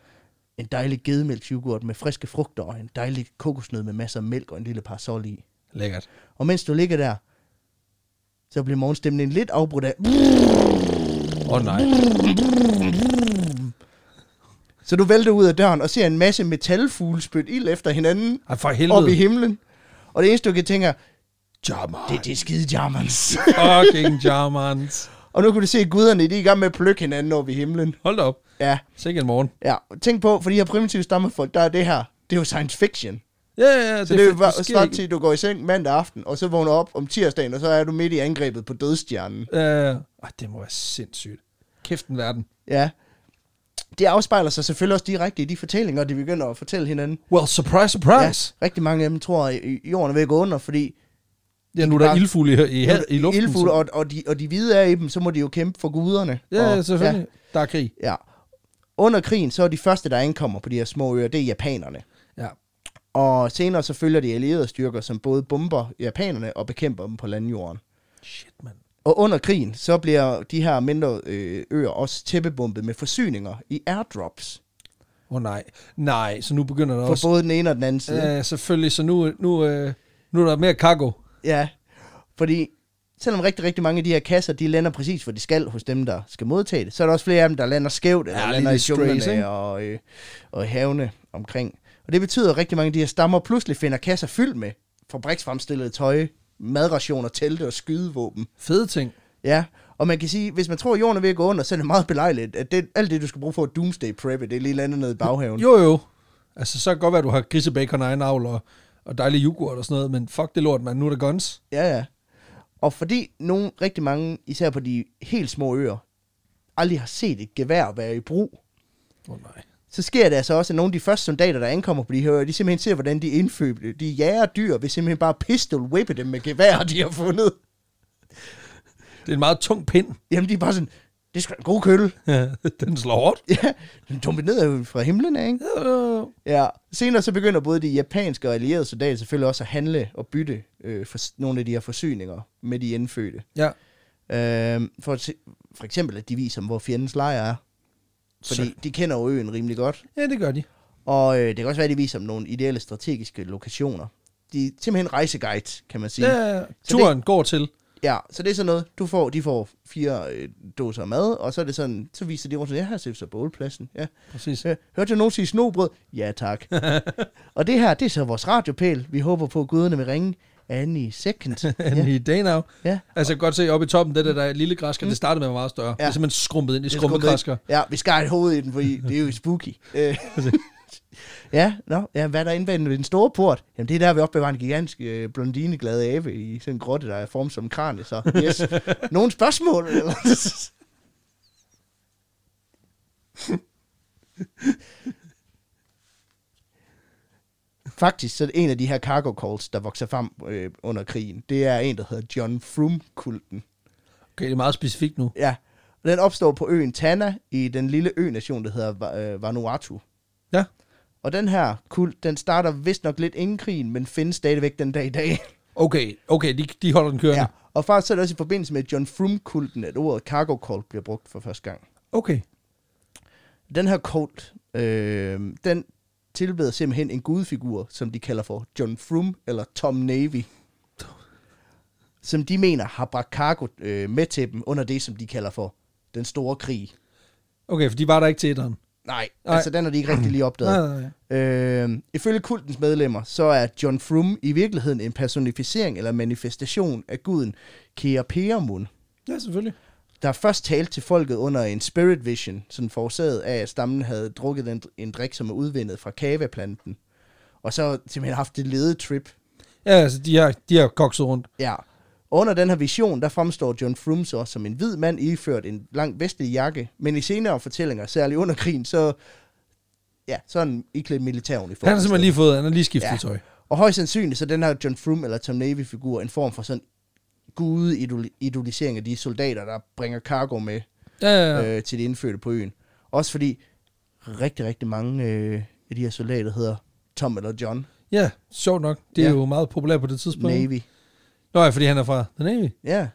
B: en dejlig gedemælksjoghurt med friske frugter, og en dejlig kokosnød med masser af mælk og en lille parasol i.
A: Lækkert.
B: Og mens du ligger der, så bliver morgenstemningen lidt afbrudt af,
A: Åh oh, nej.
B: så du vælter ud af døren og ser en masse metalfugle spytte ild efter hinanden
A: Ej, for
B: op i
A: helvede.
B: himlen. Og det eneste, du kan tænke er,
A: Jammer.
B: det, det er skide jammers.
A: Fucking jammers.
B: og nu kan du se, at guderne de er i gang med at plukke hinanden over i himlen.
A: Hold da op.
B: Ja,
A: Sikke en morgen.
B: ja. Tænk på, for de her primitive stammefolk, der er det her, det er jo science fiction.
A: Ja, ja, ja.
B: Så det, det er jo
A: fedt,
B: bare
A: sker
B: snart
A: ikke.
B: til, at du går i seng mandag aften, og så vågner op om tirsdagen, og så er du midt i angrebet på dødstjernen.
A: Øh, ej, det må være sindssygt. Kæft den verden.
B: Ja. Det afspejler sig selvfølgelig også direkte i de fortællinger, de begynder at fortælle hinanden.
A: Well, surprise, surprise.
B: Ja, rigtig mange af dem tror, at jorden er ved at gå under, fordi
A: Ja, nu er der
B: Bare-
A: ildfugle i, i, i luften.
B: ildfugle,
A: så-
B: og, og, de, og de hvide er i dem, så må de jo kæmpe for guderne.
A: Ja, ja,
B: og,
A: selvfølgelig. Ja. Der er krig.
B: Ja, ja. Under krigen, så er de første, der ankommer på de her små øer, det er japanerne.
A: Ja.
B: Og senere så følger de allierede styrker, som både bomber japanerne og bekæmper dem på landjorden.
A: Shit, mand.
B: Og under krigen, så bliver de her mindre øh, øer også tæppebumpet med forsyninger i airdrops.
A: Åh oh, nej. Nej, så nu begynder der
B: For
A: også...
B: både den ene og den anden side.
A: Ja, selvfølgelig. Så nu, nu, øh, nu er der mere cargo.
B: Ja, fordi selvom rigtig, rigtig mange af de her kasser, de lander præcis, hvor de skal hos dem, der skal modtage det, så er der også flere af dem, der lander skævt, eller
A: Ja,
B: ja,
A: lige
B: lander i
A: lidt strays,
B: junglerne
A: ikke?
B: og, øh, og i havene omkring. Og det betyder, at rigtig mange af de her stammer pludselig finder kasser fyldt med fabriksfremstillet tøj, madrationer, telte og skydevåben.
A: Fede ting.
B: Ja, og man kan sige, hvis man tror, at jorden er ved at gå under, så er det meget belejligt, at det, alt det, du skal bruge for at doomsday preppe, det er lige landet nede i baghaven.
A: Jo, jo. Altså, så kan det godt være, at du har grisebacon og egen avl og, og dejlig yoghurt og sådan noget, men fuck det lort, mand. Nu er der guns.
B: Ja, ja. Og fordi nogen, rigtig mange, især på de helt små øer, aldrig har set et gevær være i brug,
A: Åh oh, nej.
B: så sker det altså også, at nogle af de første soldater, der ankommer på de her øer, de simpelthen ser, hvordan de indføbte. De jager dyr ved simpelthen bare pistol whippe dem med gevær, de har fundet.
A: Det er en meget tung pind.
B: Jamen, de er bare sådan, det er sgu da en god kølle.
A: Den slår hårdt.
B: Ja, den dumpede ned af- fra himlen af, ikke?
A: Øh,
B: Ja, senere så begynder både de japanske og allierede soldater selvfølgelig også at handle og bytte øh, for s- nogle af de her forsyninger med de indfødte.
A: Ja.
B: Øh, for, at se- for eksempel, at de viser dem, hvor fjendens lejr er. Fordi
A: Så-
B: de kender jo øen rimelig godt.
A: ja, det gør de.
B: Og øh, det kan også være, at de viser dem nogle ideelle strategiske lokationer. De er simpelthen rejseguide, kan man sige. Ja.
A: Ja, turen det... går til.
B: ja så det er sådan noget, du får, de får fire øh, dåser mad, og så er det sådan, så viser de rundt, sådan, ja, her ser vi så bålpladsen. Ja.
A: Præcis.
B: Øh, Hørte jeg nogen sige snobrød? Ja, tak. og det her, det er så vores radiopæl. Vi håber på, at guderne vil ringe Annie Second.
A: Ja.
B: ja.
A: I dag now.
B: ja.
A: Altså, jeg kan godt se oppe i toppen, det der, der lille græsker, det startede med at være meget større. Ja. Det er simpelthen skrumpet ind i
B: Mm. Det er
A: skrumpegræsker.
B: skrumpet. Ja, vi skar et hoved i den, fordi det er jo spooky. Øh. ja, no, ja, hvad er der inde bag den, den store port? Jamen, det er der, vi opbevarer en gigantisk øh, blondineglad abe i sådan en grotte, der er formet som en kranie. Så yes. Nogle spørgsmål? Eller? Faktisk så er en af de her cargo calls, der vokser frem øh, under krigen, det er en, der hedder John Froome-kulten.
A: Okay, det er meget specifikt nu.
B: Ja, den opstår på øen Tana i den lille ø-nation, der hedder Va- øh, Vanuatu.
A: Ja.
B: Og den her kult, den starter vist nok lidt inden krigen, men findes stadigvæk den dag i dag.
A: Okay, okay, de, de holder den kørende.
B: ja.
A: Ja.
B: Og faktisk så er det også i forbindelse med John Froome-kulten, at ordet cargo cult bliver brugt for første gang.
A: Okay.
B: Den her kult, øh, den tilbeder simpelthen en gudfigur, som de kalder for John Froome eller Tom Navy. Som de mener har bragt cargo øh, med til dem under det, som de kalder for den store krig.
A: Okay, for de var der ikke til etteren.
B: Nej,
A: Nej.
B: altså den har de ikke rigtig lige opdaget.
A: Nej, nej, nej.
B: Øh, ifølge kultens medlemmer, så er John Froome i virkeligheden en personificering eller manifestation af guden Keapeamun,
A: Ja, selvfølgelig.
B: der først talte til folket under en spirit vision, sådan forårsaget af, at stammen havde drukket en, en drik, som er udvindet fra kaveplanten, og så simpelthen haft det lede trip.
A: Ja, altså, de har, de har kokset rundt.
B: Ja, Og under den her vision, der fremstår John Froome så som en hvid mand iført en lang vestlig jakke, men i senere fortællinger, særligt under krigen, så ja, sådan iklædt militæruniform.
A: Han har simpelthen lige fået, han har lige skiftet ja.
B: Ja.
A: tøj.
B: Og højst sandsynligt, så den her John Froome eller Tom Navy-figur en form for sådan gude-idolisering af de soldater, der bringer cargo med
A: Ja, ja, ja.
B: ja. øh, til de indfødte på øen. Også fordi rigtig, rigtig mange øh, af de her soldater hedder Tom eller John
A: ja sjovt nok. Det er
B: Ja.
A: jo meget populært på det tidspunkt. Navy.
B: Navy.
A: Nå ja, fordi han er fra The Navy.
B: Ja.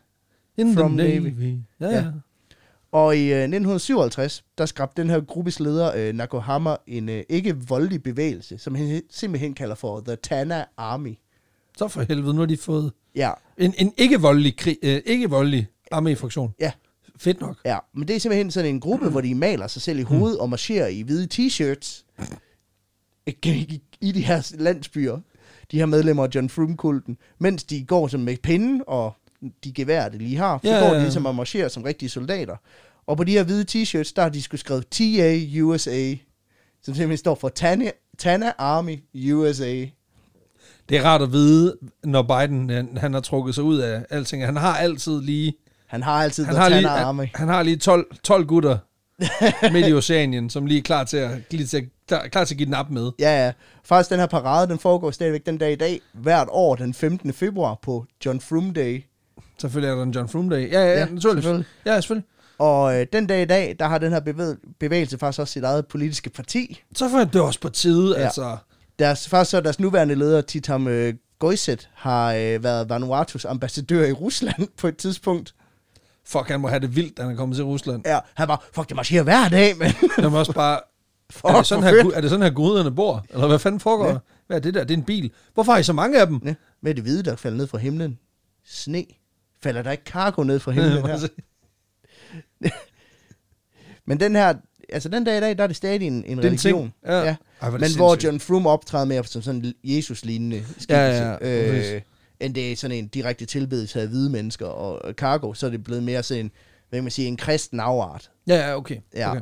A: In
B: From
A: the Navy.
B: Navy.
A: Ja,
B: Ja.
A: ja.
B: Og i øh, 1957, der skabte den her gruppes leder, øh, Nakohama, en øh, ikke voldelig bevægelse, som han he- simpelthen kalder for The Tana Army.
A: Så for helvede, nu har de fået
B: Ja,
A: en, en ikke-voldelig, krig, øh, ikke-voldelig arméfraktion.
B: Ja.
A: Fedt nok.
B: ja. Men det er simpelthen sådan en gruppe, hvor de maler sig selv i hovedet og marcherer i hvide t-shirts i- i de her landsbyer. De her medlemmer af John Froome-kulten. Mens de går som med pinden og de geværer, de lige har, så
A: Ja,
B: går
A: ja,
B: de
A: ja.
B: ligesom og marcherer som rigtige soldater. Og på de her hvide t-shirts, der har de skulle skrevet TA USA, som simpelthen står for Tana, Tana Army USA.
A: Det er rart at vide, når Biden øh, han, han har trukket sig ud af alting. Han har altid lige...
B: Han har altid
A: Han
B: The
A: har,
B: Tana
A: lige,
B: Army.
A: han, han har lige 12, 12 gutter midt i Oceanien, som lige er klar til at, lige til at, klar, klar til at give den op med.
B: Ja, ja. Faktisk, den her parade, den foregår stadigvæk den dag i dag, hvert år den 15. februar på John Froome Day.
A: Selvfølgelig er der en John Froome Day. Ja, ja, ja
B: Ja,
A: naturligvis. Selvfølgelig.
B: selvfølgelig.
A: Ja, selvfølgelig.
B: Og øh, den dag i dag, der har den her bevæg- bevægelse faktisk også sit eget politiske parti.
A: Så får jeg det også på tide, ja.
B: Ja.
A: altså.
B: Deres, faktisk så er deres nuværende leder, Titam øh, Goiset, har øh, været Vanuatus ambassadør i Rusland på et tidspunkt.
A: Fuck, han må have det vildt, da han er kommet til Rusland.
B: Ja, han var, fuck, det marcherer hver dag, men...
A: Jeg må også bare...
B: Fuck,
A: Er det, sådan
B: hvor
A: her,
B: fedt.
A: gu- er det sådan her guderne bor? Eller hvad fanden foregår? Ja.
B: Ja.
A: Hvad er det der? Det er en bil. Hvorfor har I så mange af dem?
B: ja, med det hvide, der falder ned fra himlen. Sne. Falder der ikke kargo ned fra himlen her? Men den her, altså den dag i dag, der er det stadig en, en
A: Det er en
B: religion.
A: ting. Ja. Ej, hvor er det
B: Men hvor
A: sindssygt.
B: John Froome optræder mere som sådan en Jesus-lignende skikkelse,
A: Ja, ja, præcis.
B: øh, end det er sådan en direkte tilbedelse af hvide mennesker og og cargo, så er det blevet mere sådan en, hvad kan man sige, en kristen afart.
A: ja, ja, okay.
B: Ja.
A: okay.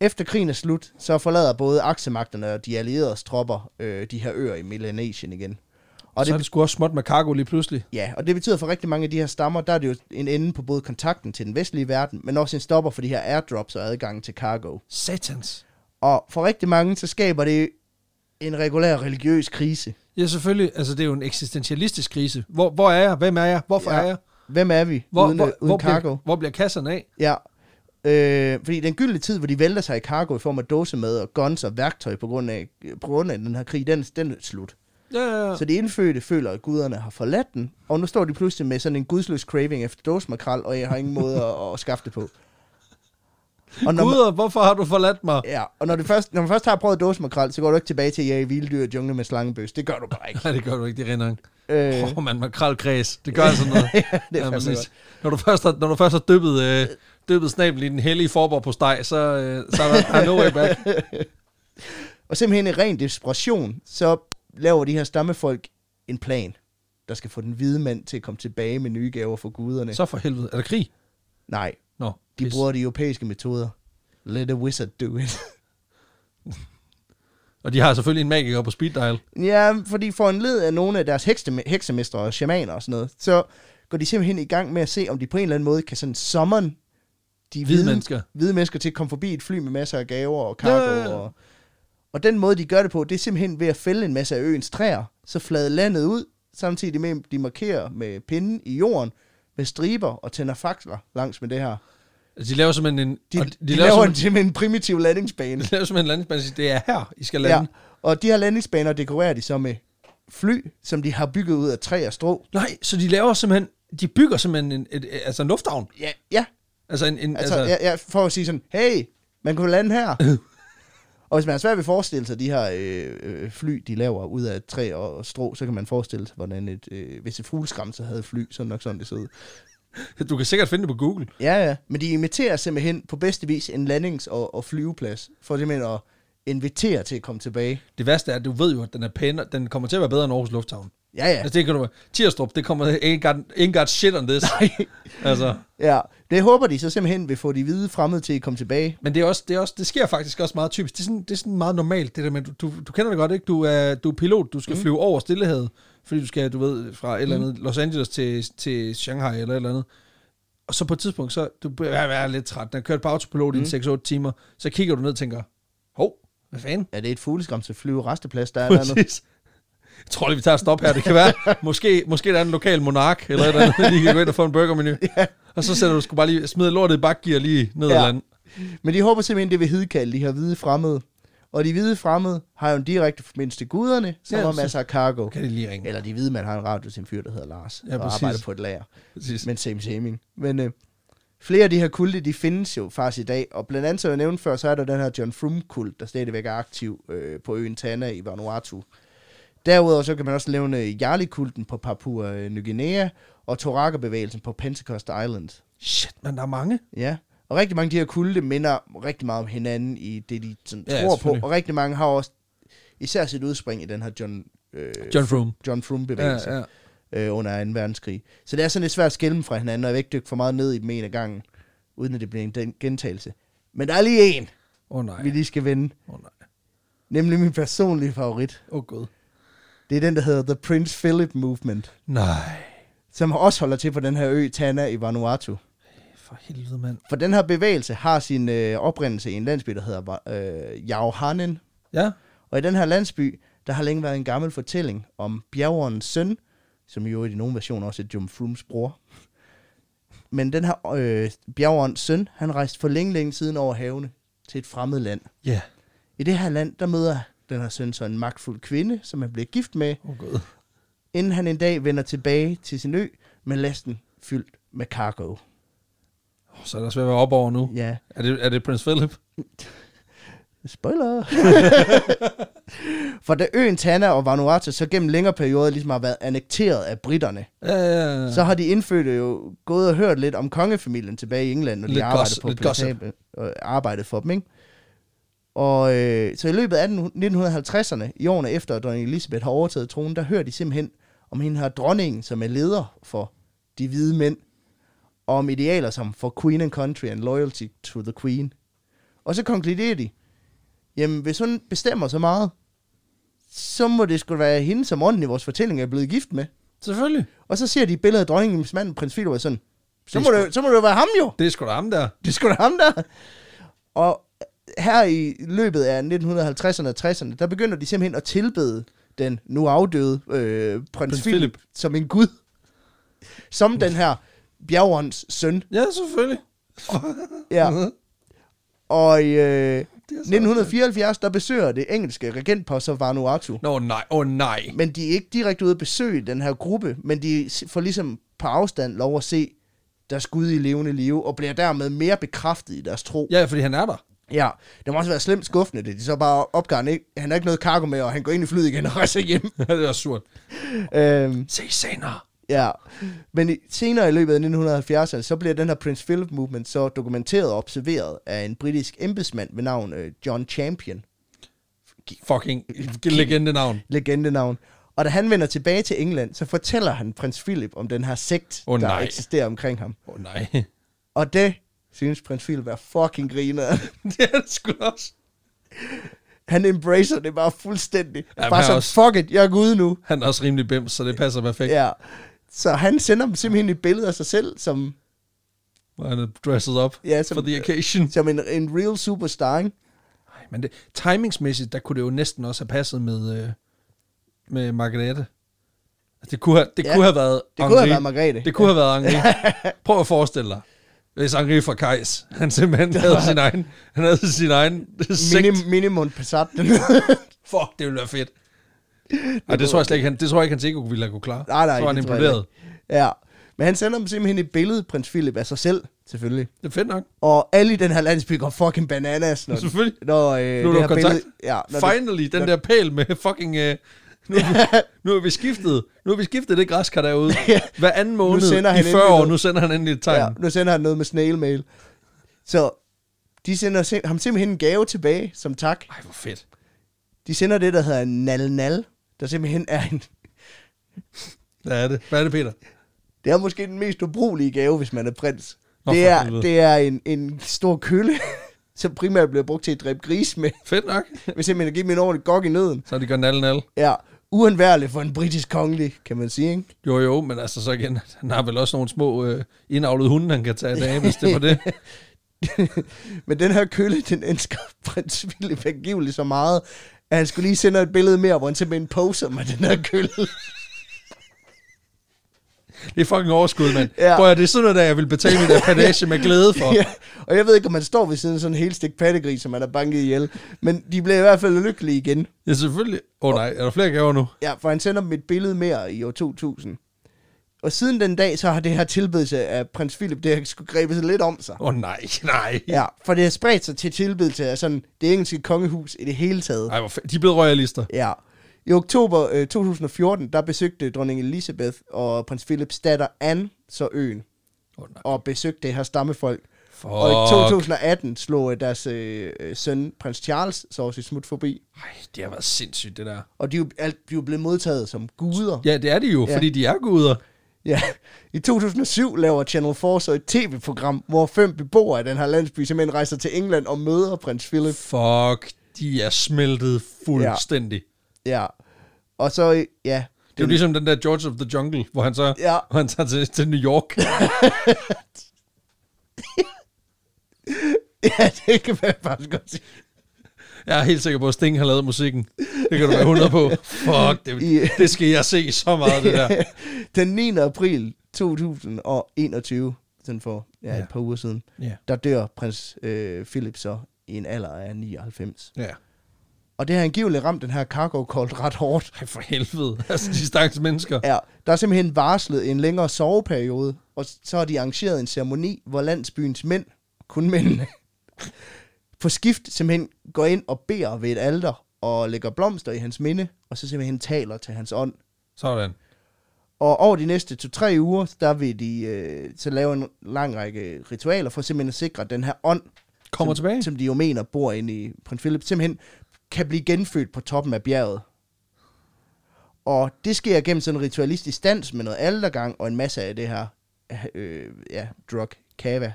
B: Efter krigen er slut, så forlader både aksemagterne og de allieredes tropper øh, de her øer i Melanesien igen.
A: Og
B: Og
A: så
B: det
A: er det sgu også småt med cargo lige pludselig.
B: Ja, og det betyder for rigtig mange af de her stammer, der er det jo en ende på både kontakten til den vestlige verden, men også en stopper for de her airdrops og adgangen til cargo.
A: Satans.
B: Og for rigtig mange, så skaber det en regulær religiøs krise.
A: Ja, selvfølgelig. Altså, det er jo en eksistentialistisk krise. Hvor, hvor er jeg? Hvem er jeg? Hvorfor
B: Ja.
A: er jeg?
B: Hvem er vi
A: Hvor,
B: uden,
A: hvor,
B: uden
A: hvor,
B: cargo?
A: bliver, hvor bliver kasserne af?
B: Ja. Øh, fordi den gyldne tid, hvor de vælter sig i cargo i form af dåsemad og guns og værktøj på grund af, på grund af den her krig, den, den er slut.
A: Ja, ja, ja.
B: Så de indfødte føler, at guderne har forladt den, og nu står de pludselig med sådan en gudsløs craving efter dåsemakrel, og jeg har ingen måde at, at skaffe det på. Og når, man,
A: Guder, hvorfor har du forladt mig?
B: ja, og når, det først, når man først har prøvet dåsemakrel, så går du ikke tilbage til at jage vilddyr og jungle med slangebøs. Det gør du bare ikke.
A: Nej, det gør du ikke, det render.
B: Øh,
A: Åh, oh, man, makrelkreds. Det gør sådan noget. ja,
B: det er fandme
A: Når du først har, når du først har dyppet, øh, dyppet snablen i den hellige forborg på steg, så, øh, så er der no way back.
B: Og simpelthen i ren desperation, så laver de her stammefolk en plan, der skal få den hvide mand til at komme tilbage med nye gaver for guderne. Så...
A: Så for helvede. Er der krig?
B: Nej,
A: Nå,
B: de
A: pis.
B: bruger de europæiske metoder. Let a wizard do it.
A: Og de har selvfølgelig en magiker på speed dial.
B: ja, fordi for en led af nogle af deres hekse- heksemestre og shamaner og sådan noget, så går de simpelthen i gang med at se, om de på en eller anden måde kan sådan summon de
A: Hvide mennesker.
B: hvide mennesker til at komme forbi et fly med masser af gaver og cargo.
A: Ja, ja, ja.
B: Og, og den måde, de gør det på, det er simpelthen ved at fælde en masse af øens træer, så flade landet ud, samtidig med, at de markerer med pinden i jorden, med striber og tænder faksler langs med det her.
A: Altså, De laver simpelthen en...
B: De,
A: og
B: de, de laver en,
A: simpelthen,
B: simpelthen en primitiv landingsbane.
A: de laver simpelthen en landingsbane og siger, det er her, I skal lande.
B: Ja, og de her landingsbaner dekorerer de så med fly, som de har bygget ud af træ og strå.
A: Nej, så de laver simpelthen... De bygger simpelthen en, et, altså en lufthavn.
B: Ja, ja
A: Altså en... en
B: Altså, altså ja, ja, for at sige sådan, hey, man kunne lande her. og hvis man er svært ved at forestille sig de her øh, øh, fly, de laver ud af træ og, og strå, så kan man forestille sig, hvordan et, øh, hvis et fugleskram så havde fly, så nok sådan det så ud.
A: Du kan sikkert finde det på Google.
B: Ja, ja, men de imiterer simpelthen på bedste vis en landings- og, og flyveplads, for simpelthen at inviterer til at komme tilbage.
A: Det værste er, at du ved jo, at den er pænere, den kommer til at være bedre end Aarhus Lufthavn.
B: Ja, ja.
A: Altså, det kan du Tirstrup, det kommer ain't got, ain't got shit on this. Nej. altså,
B: ja. Det håber de så simpelthen vil få de hvide fremmede til at komme tilbage.
A: men det, er også, det, er også, det sker faktisk også meget typisk. Det er sådan, det er sådan meget normalt, det der med, du, du, du kender det godt, ikke? Du er, du er pilot, du skal
B: Mhm.
A: mm. flyve over Stillehavet, fordi du skal, du ved, fra et eller andet Los Angeles til, til Shanghai eller et eller andet. Og så på et tidspunkt, så du er være lidt træt. Når du kørt på autopilot mm.
B: Mhm.
A: i en 6-8 timer, så kigger du ned og tænker, hov, hvad fanden?
B: Ja, det er et fugleskram til flyve resteplads, der er der nu.
A: Præcis. Jeg tror lige, vi tager et stop her. Det kan være, måske, måske der er en lokal monark, eller et eller andet, lige kan gå ind og få en burgermenu. Ja. Og så sætter du sgu bare lige, smider lortet i bakgear lige ned
B: Ja.
A: ja. eller andet.
B: Men de håber simpelthen, det vil hedkalde de her hvide fremmede. Og de hvide fremmede har jo en direkte forbindelse til guderne, som
A: Ja,
B: har
A: præcis.
B: masser af cargo.
A: Kan det lige ringe?
B: Eller de hvide mand har en radio til en fyr, der hedder Lars,
A: Ja,
B: og
A: præcis.
B: arbejder på et lager.
A: Præcis.
B: Men same same. Men øh, flere af de her kulte, de findes jo faktisk i dag. Og blandt andet, som jeg nævnte før, så er der den her John Frum-kult, der stadigvæk er aktiv øh, på øen Tana i Vanuatu. Derudover så kan man også nævne Jarli-kulten på Papua øh, Ny Guinea, og Toraka-bevægelsen på Pentecost Island.
A: Shit, men der er mange.
B: Ja, og rigtig mange af de her kulte minder rigtig meget om hinanden i det, de sådan,
A: Ja,
B: ja, tror på.
A: selvfølgelig.
B: Og rigtig mange har også især sit udspring i den her John, øh,
A: John Froome.
B: John Frum-bevægelse
A: Ja, ja.
B: øh, under 2. verdenskrig. Så det er sådan lidt svært at skille dem fra hinanden, og jeg vil ikke dykke for meget ned i dem en af gangen, uden at det bliver en den- gentagelse. Men der er lige en,
A: Åh oh, nej.
B: vi lige skal vende,
A: Åh oh, nej.
B: nemlig min personlige favorit.
A: Åh oh, gud.
B: Det er den, der hedder The Prince Philip Movement,
A: Nej.
B: som også holder til på den her ø Tana i Vanuatu.
A: For helvede, mand.
B: For den her bevægelse har sin øh, oprindelse i en landsby, der hedder Va- øh, Jauhanen.
A: Ja.
B: Og i den her landsby, der har længe været en gammel fortælling om bjergerens søn, som jo i nogle versioner også er Jim Frooms bror. Men den her øh, bjergerens søn, han rejste for længe, længe siden over havene til et fremmed land.
A: Ja.
B: I det her land, der møder den her søn så en magtfuld kvinde, som han bliver gift med,
A: Åh oh, gud.
B: inden han en dag vender tilbage til sin ø med lasten fyldt med cargo.
A: Oh, så er der svært at være op over nu.
B: Ja,
A: Er det, er det Prince Philip?
B: Spoiler! For da øen Tana og Vanuatu så gennem længere perioder ligesom har været annekteret af britterne,
A: Ja, ja, ja.
B: så har de indfødte jo gået og hørt lidt om kongefamilien tilbage i England, når de
A: Lidt
B: arbejdede,
A: gossip,
B: på
A: lidt gossip.
B: plantage, øh, arbejdede for dem. Ikke? Og øh, så i løbet af 1950'erne, i årene efter, at dronning Elizabeth har overtaget tronen, der hører de simpelthen om hende her dronningen, som er leder for de hvide mænd, og om idealer som for queen and country and loyalty to the queen. Og så konkluderer de, jamen hvis hun bestemmer så meget, så må det skulle være hende, som ånden i vores fortælling er blevet gift med.
A: Selvfølgelig.
B: Og så ser de et billede af dronningens mand, prins Philip, og er sådan, så
A: Det
B: må,
A: er
B: det, så må det jo være ham jo.
A: Det er sgu da ham der.
B: Det skulle da ham der. Og her i løbet af 1950'erne og 60'erne, der begynder de simpelthen at tilbede den nu afdøde øh, prins, prins
A: Prins
B: Philip,
A: Philip.
B: som en gud. Som den her bjergerens søn.
A: Ja, selvfølgelig.
B: Ja. Og i øh,
A: Mhm. Det er så-
B: 1974, der besøger det engelske regentpost så Vanuatu.
A: Nå nej, åh oh, nej.
B: Men de er ikke direkte ude at besøge den her gruppe, men de s- får ligesom på afstand lov at se deres Gud i levende live, og bliver dermed mere bekræftet i deres tro.
A: Ja, fordi han er der.
B: Ja, det må også være slemt skuffende, det de så bare opgav, han ikke, han har ikke noget kargo med, og han går ind i flyet igen og rejser hjem.
A: det er surt.
B: øhm,
A: Se senere.
B: ja, men i, senere i løbet af 1970'erne, så bliver den her Prince Philip Movement så dokumenteret og observeret af en britisk embedsmand ved navn øh, John Champion.
A: Fucking legende navn.
B: legendenavn. Og da han vender tilbage til England, så fortæller han prins Philip om den her sekt,
A: Åh,
B: der
A: nej.
B: eksisterer omkring ham.
A: Åh oh, nej.
B: Og det synes prins Philip er fucking griner.
A: det er det sgu da også.
B: Han embracer det bare fuldstændig.
A: Jamen,
B: bare
A: han
B: sådan,
A: er
B: også... fuck it, jeg er ude nu.
A: Han er også rimelig bims, så det passer perfekt.
B: Ja. Så han sender dem simpelthen et billede af sig selv, som,
A: Hvor han er dresset up
B: Ja,
A: ja,
B: som-
A: for the occasion.
B: som en, en real superstar, ikke?
A: Ej, men det, timingsmæssigt, der kunne det jo næsten også have passet med, øh, med Margrethe. Altså, Det kunne have, det
B: Ja,
A: ja, kunne have været
B: Det kunne have været Margrethe.
A: Det kunne have været Henri. Prøv at forestille dig, hvis Henri fra Kajs, han simpelthen havde sin egen, han havde sin egen sekt.
B: Minim, minimum passat.
A: Fuck, det ville være fedt. Ej, det tror jeg slet ikke, han, det tror jeg ikke, hans ego ville have kunne klare.
B: nej, nej.
A: så var han
B: det tror jeg
A: imponeret.
B: ikke. Ja. Men han sender dem simpelthen et billede, prins Philip, af sig selv, selvfølgelig.
A: Det er fedt nok.
B: Og alle i den her landsby går fucking bananas, når,
A: Selvfølgelig.
B: når øh,
A: Nu er
B: det
A: du
B: her
A: i kontakt.
B: billede... Ja, når det,
A: Finally, den der pæl med fucking... Øh, nu, er vi, nu er vi skiftet. Nu har vi skiftet det græskar derude. Hver anden måned
B: sender han
A: i 40
B: endelig
A: år,
B: noget.
A: nu sender han endelig et tegn.
B: ja, nu sender han noget med snail mail. Så De sender sim- ham simpelthen en gave tilbage som tak.
A: Ej, hvor fedt.
B: De sender det, der hedder en nal nal, der simpelthen er en...
A: Hvad er det? Hvad er det, Peter?
B: Det er måske den mest ubrugelige gave, hvis man er prins.
A: Nå,
B: det
A: for
B: er,
A: helvede.
B: det er en, en stor kølle, som primært bliver brugt til at dræbe gris med.
A: Fedt nok.
B: Hvis simpelthen at give dem en ordentlig gok i nøden.
A: Så de gør nal nal.
B: Ja, uundværlig for en britisk kongelig, kan man sige, ikke?
A: Jo, jo, men altså så igen, han har vel også nogle små øh, indavlede hunde, han kan tage af dage, hvis det var det.
B: Men den her kølle, den elsker prins Philip angiveligt så meget, at han skulle lige sende et billede mere, hvor han simpelthen poser med den her kølle.
A: Det er fucking overskud, mand.
B: Ja.
A: Ja. Prøv at det er sådan noget, der jeg vil betale min apanage med glæde for.
B: ja. Og jeg ved ikke, om man står ved siden af sådan en hel stik pattegris, som man er banket ihjel. Men de bliver i hvert fald lykkelige igen.
A: Ja, selvfølgelig. Åh oh, nej, er der flere gaver nu?
B: Ja, for han sender dem et billede mere i år 2000. Og siden den dag, så har det her tilbedelse af prins Philip, det har skulle grebe sig lidt om sig.
A: Åh oh, nej, nej.
B: Ja, for det har spredt sig til tilbedelse af sådan det engelske kongehus i det hele taget.
A: Ej, hvor fe- De er blevet royalister.
B: Ja. I oktober øh, 2014, der besøgte dronning Elizabeth og prins Philips datter Anne så øen
A: Åh oh, nej.
B: og besøgte det her stammefolk.
A: Fuck.
B: Og i 2018 slog øh, deres øh, øh, søn, prins Charles, så også et smut forbi.
A: Ej, det har været sindssygt, det der.
B: Og de er jo, alt, de er jo blevet modtaget som guder.
A: Ja, det er de jo,
B: Ja.
A: ja. fordi de er guder.
B: Ja, i 2007 laver Channel 4 så et tv-program, hvor fem beboere af den her landsby simpelthen rejser til England og møder prins Philip.
A: Fuck, de er smeltet fuldstændig. Ja.
B: Ja, og så, øh, ja.
A: Det er jo ligesom den der George of the Jungle, hvor han så
B: Ja.
A: ja. hvor han tager til, til New York.
B: Ja, det kan man faktisk godt sige.
A: Jeg er helt sikker på, at Sting har lavet musikken. Det kan du være 100 på. Fuck,
B: I-
A: det, det skal jeg se så meget, det der.
B: den 9. april 2021, sådan for ja,
A: Ja.
B: et par uger siden,
A: Ja.
B: der dør prins øh, Philip så i en alder af 99.
A: ja.
B: Og det har angiveligt ramt den her cargo call ret hårdt.
A: Ej, for helvede. Altså, de stakkels mennesker.
B: Ja, der er simpelthen varslet en længere soveperiode, og s- så har de arrangeret en ceremoni, hvor landsbyens mænd, kun mændene, på skift simpelthen går ind og beder ved et alter og lægger blomster i hans minde, og så simpelthen taler til hans ånd.
A: Sådan.
B: Og over de næste 2-3 uger, der vil de øh, så lave en lang række ritualer for simpelthen at sikre, at den her ånd,
A: Kommer
B: som,
A: tilbage.
B: som de jo mener bor inde i prins Philip, simpelthen kan blive genfødt på toppen af bjerget. Og det sker gennem sådan en ritualistisk dans med noget aldergang og en masse af det her øh, ja, drug kava.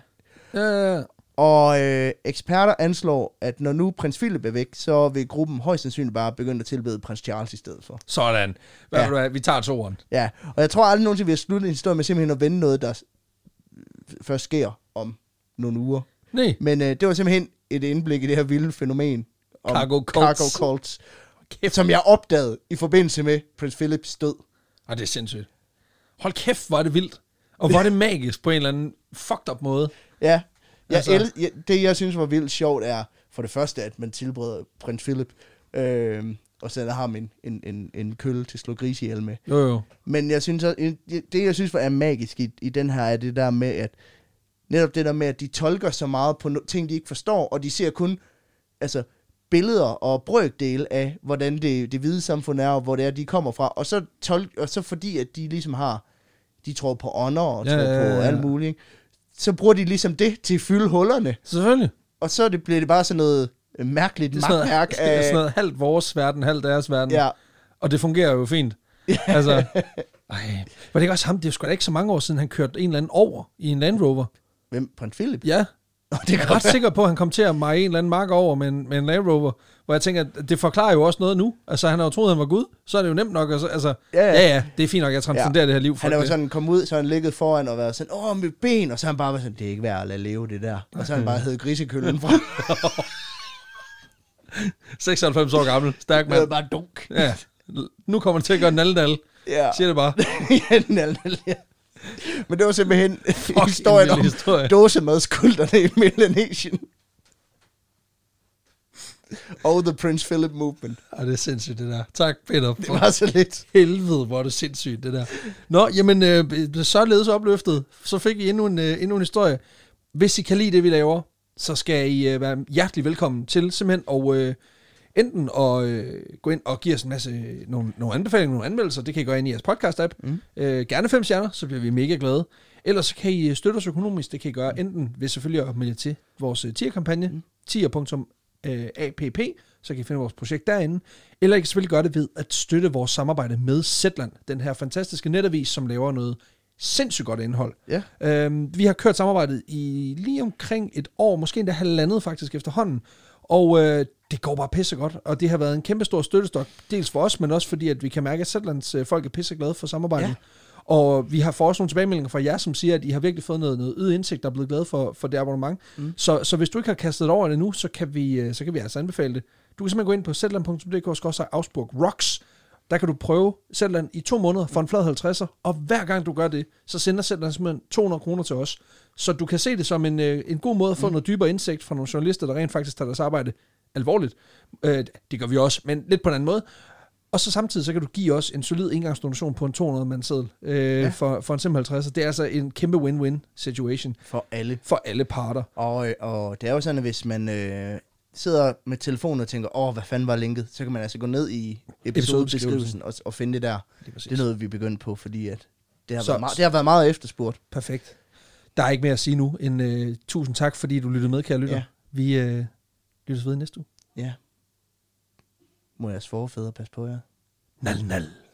A: Ja, ja, ja.
B: Og øh, eksperter anslår, at når nu prins Philip er væk, så vil gruppen højst sandsynligt bare begynde at tilbede prins Charles i stedet for.
A: Sådan. Hvad
B: Ja.
A: ja. vil du have? Vi tager toeren.
B: Ja, og jeg tror aldrig nogensinde, vi har sluttet en historie med simpelthen at vende noget, der s- først sker om nogle uger.
A: Nej.
B: Men øh, det var simpelthen et indblik i det her vilde fænomen. Om
A: Cargo cults.
B: Cargo cults.
A: Kæft.
B: Som jeg opdagede i forbindelse med prins Philips død.
A: Ej, Ah, det er sindssygt. Hold kæft, hvor er det vildt. Og hvor er det magisk på en eller anden fucked up måde.
B: Ja, jeg
A: Altså-
B: el- jeg, det jeg synes var vildt sjovt er, for det første, at man tilbreder prins Philip, øh, og sender ham en, en, en, en kølle til at slå gris ihjel med.
A: Jo, jo.
B: Men jeg synes også, det jeg synes er magisk i, i den her, er det der med, at netop det der med, at de tolker så meget på no- ting, de ikke forstår, og de ser kun altså, billeder og brøkdele af, hvordan det, det hvide samfund er, og hvor det er, de kommer fra. Og så, tol- og så fordi, at de ligesom har, de tror på ånder og ja, tror ja, ja, ja. på alt muligt, ikke? så bruger de ligesom det til at fylde hullerne.
A: Selvfølgelig.
B: Og så er det, bliver det bare sådan noget øh, mærkeligt
A: Det er sådan noget,
B: magtværk
A: det er
B: af...
A: sådan noget halvt vores verden, halvt deres verden.
B: Ja.
A: Og det fungerer jo fint. Altså, ej. Var det ikke også ham? Det er sgu da ikke så mange år siden, han kørte en eller anden over i en Land Rover.
B: Hvem? Prins Philip?
A: Ja.
B: det
A: Jeg
B: kan
A: er ret sikker på, at han kom til at meje en eller anden mark over med en, med en Land Rover, hvor jeg tænker, at det forklarer jo også noget nu. Altså, han har jo troet, han var Gud, så er det jo nemt nok. at så- Altså,
B: Ja,
A: ja,
B: ja.
A: ja. ja, det er fint nok, jeg transcenderer det her liv.
B: Han
A: fuck
B: er jo
A: det.
B: sådan kommet ud, så han ligget foran og været sådan, åh, mit ben, og så han bare var sådan, det er ikke værd at lade leve det der. Og så han bare hed grisekøllen fra,
A: 96 år gammel, stærk
B: det var
A: mand.
B: bare dunk.
A: Ja. Nu kommer han til at gøre en alle
B: Ja.
A: Siger det bare.
B: ja, den er lidt- ja. Men det var simpelthen
A: Fuck,
B: historien
A: en
B: om
A: vild historie.
B: dåsemadskulterne i Melanesien. Og The Prince Philip Movement.
A: Ej, det er sindssygt, det der. Tak, Peter.
B: Det
A: For
B: var så lidt.
A: helvede, hvor er det sindssygt, det der. Nå, jamen, øh, således opløftet, så fik I endnu en, øh, endnu en historie. Hvis I kan lide det, vi laver, så skal I øh, være hjertelig velkommen til simpelthen og øh, enten at øh, gå ind og give os en masse øh, nogle, nogle anbefalinger, nogle anmeldelser, det kan I gøre ind i jeres podcast-app. Mm. Øh, gerne fem stjerner, så bliver vi mega glade. Ellers så kan I øh, støtte os økonomisk, det kan I gøre enten ved selvfølgelig at melde jer til vores øh, tier-kampagne, øh, mm. tier.app, så kan I finde vores projekt derinde. Eller I kan selvfølgelig gøre det ved at støtte vores samarbejde med Zetland, den her fantastiske netavis, som laver noget sindssygt godt indhold.
B: Ja.
A: Øhm, vi har kørt samarbejdet i lige omkring et år, måske endda halvandet faktisk efterhånden, og øh, det går bare pisse godt, og det har været en kæmpe stor støttestok, dels for os, men også fordi, at vi kan mærke, at Zetlands øh, folk er pisse glade for samarbejdet.
B: Ja.
A: Ja. Og vi har fået også nogle tilbagemeldinger fra jer, som siger, at I har virkelig fået noget, noget yd indsigt, der er blevet glade for, for det abonnement. Mm. Så, så hvis du ikke har kastet dig over det nu, så kan vi, øh, så kan vi altså anbefale det. Du kan simpelthen gå ind på zetland.dk-ausburg rocks. Der kan du prøve Zetland i to måneder for en flad 50'er, og hver gang du gør det, så sender Zetland simpelthen 200 kroner til os. Så du kan se det som en, øh, en god måde at få mm. noget dybere indsigt fra nogle journalister, der rent faktisk tager deres arbejde alvorligt. Øh, det gør vi også, men lidt på en anden måde. Og så samtidig, så kan du give os en solid engangsdonation på en 200-mandseddel øh, ja. for, for en simpel 50. Det er altså en kæmpe win-win situation
B: For alle.
A: for alle parter.
B: Og, øh, og det er jo sådan, at hvis man øh, sidder med telefonen og tænker, åh, hvad fanden var linket, så kan man altså gå ned i episodebeskrivelsen og, og finde det der.
A: Lige præcis.
B: Det er noget, vi er begyndt på, fordi at det, har
A: Så-
B: været meget, det har været meget efterspurgt.
A: Perfekt. Der er ikke mere at sige nu, end øh, tusind tak, fordi du lyttede med, kære lytter.
B: Ja.
A: Ja. Vi øh, lyttes ved i næste uge.
B: Ja. Må jeres forfædre passe på jer?
A: Nal, nal.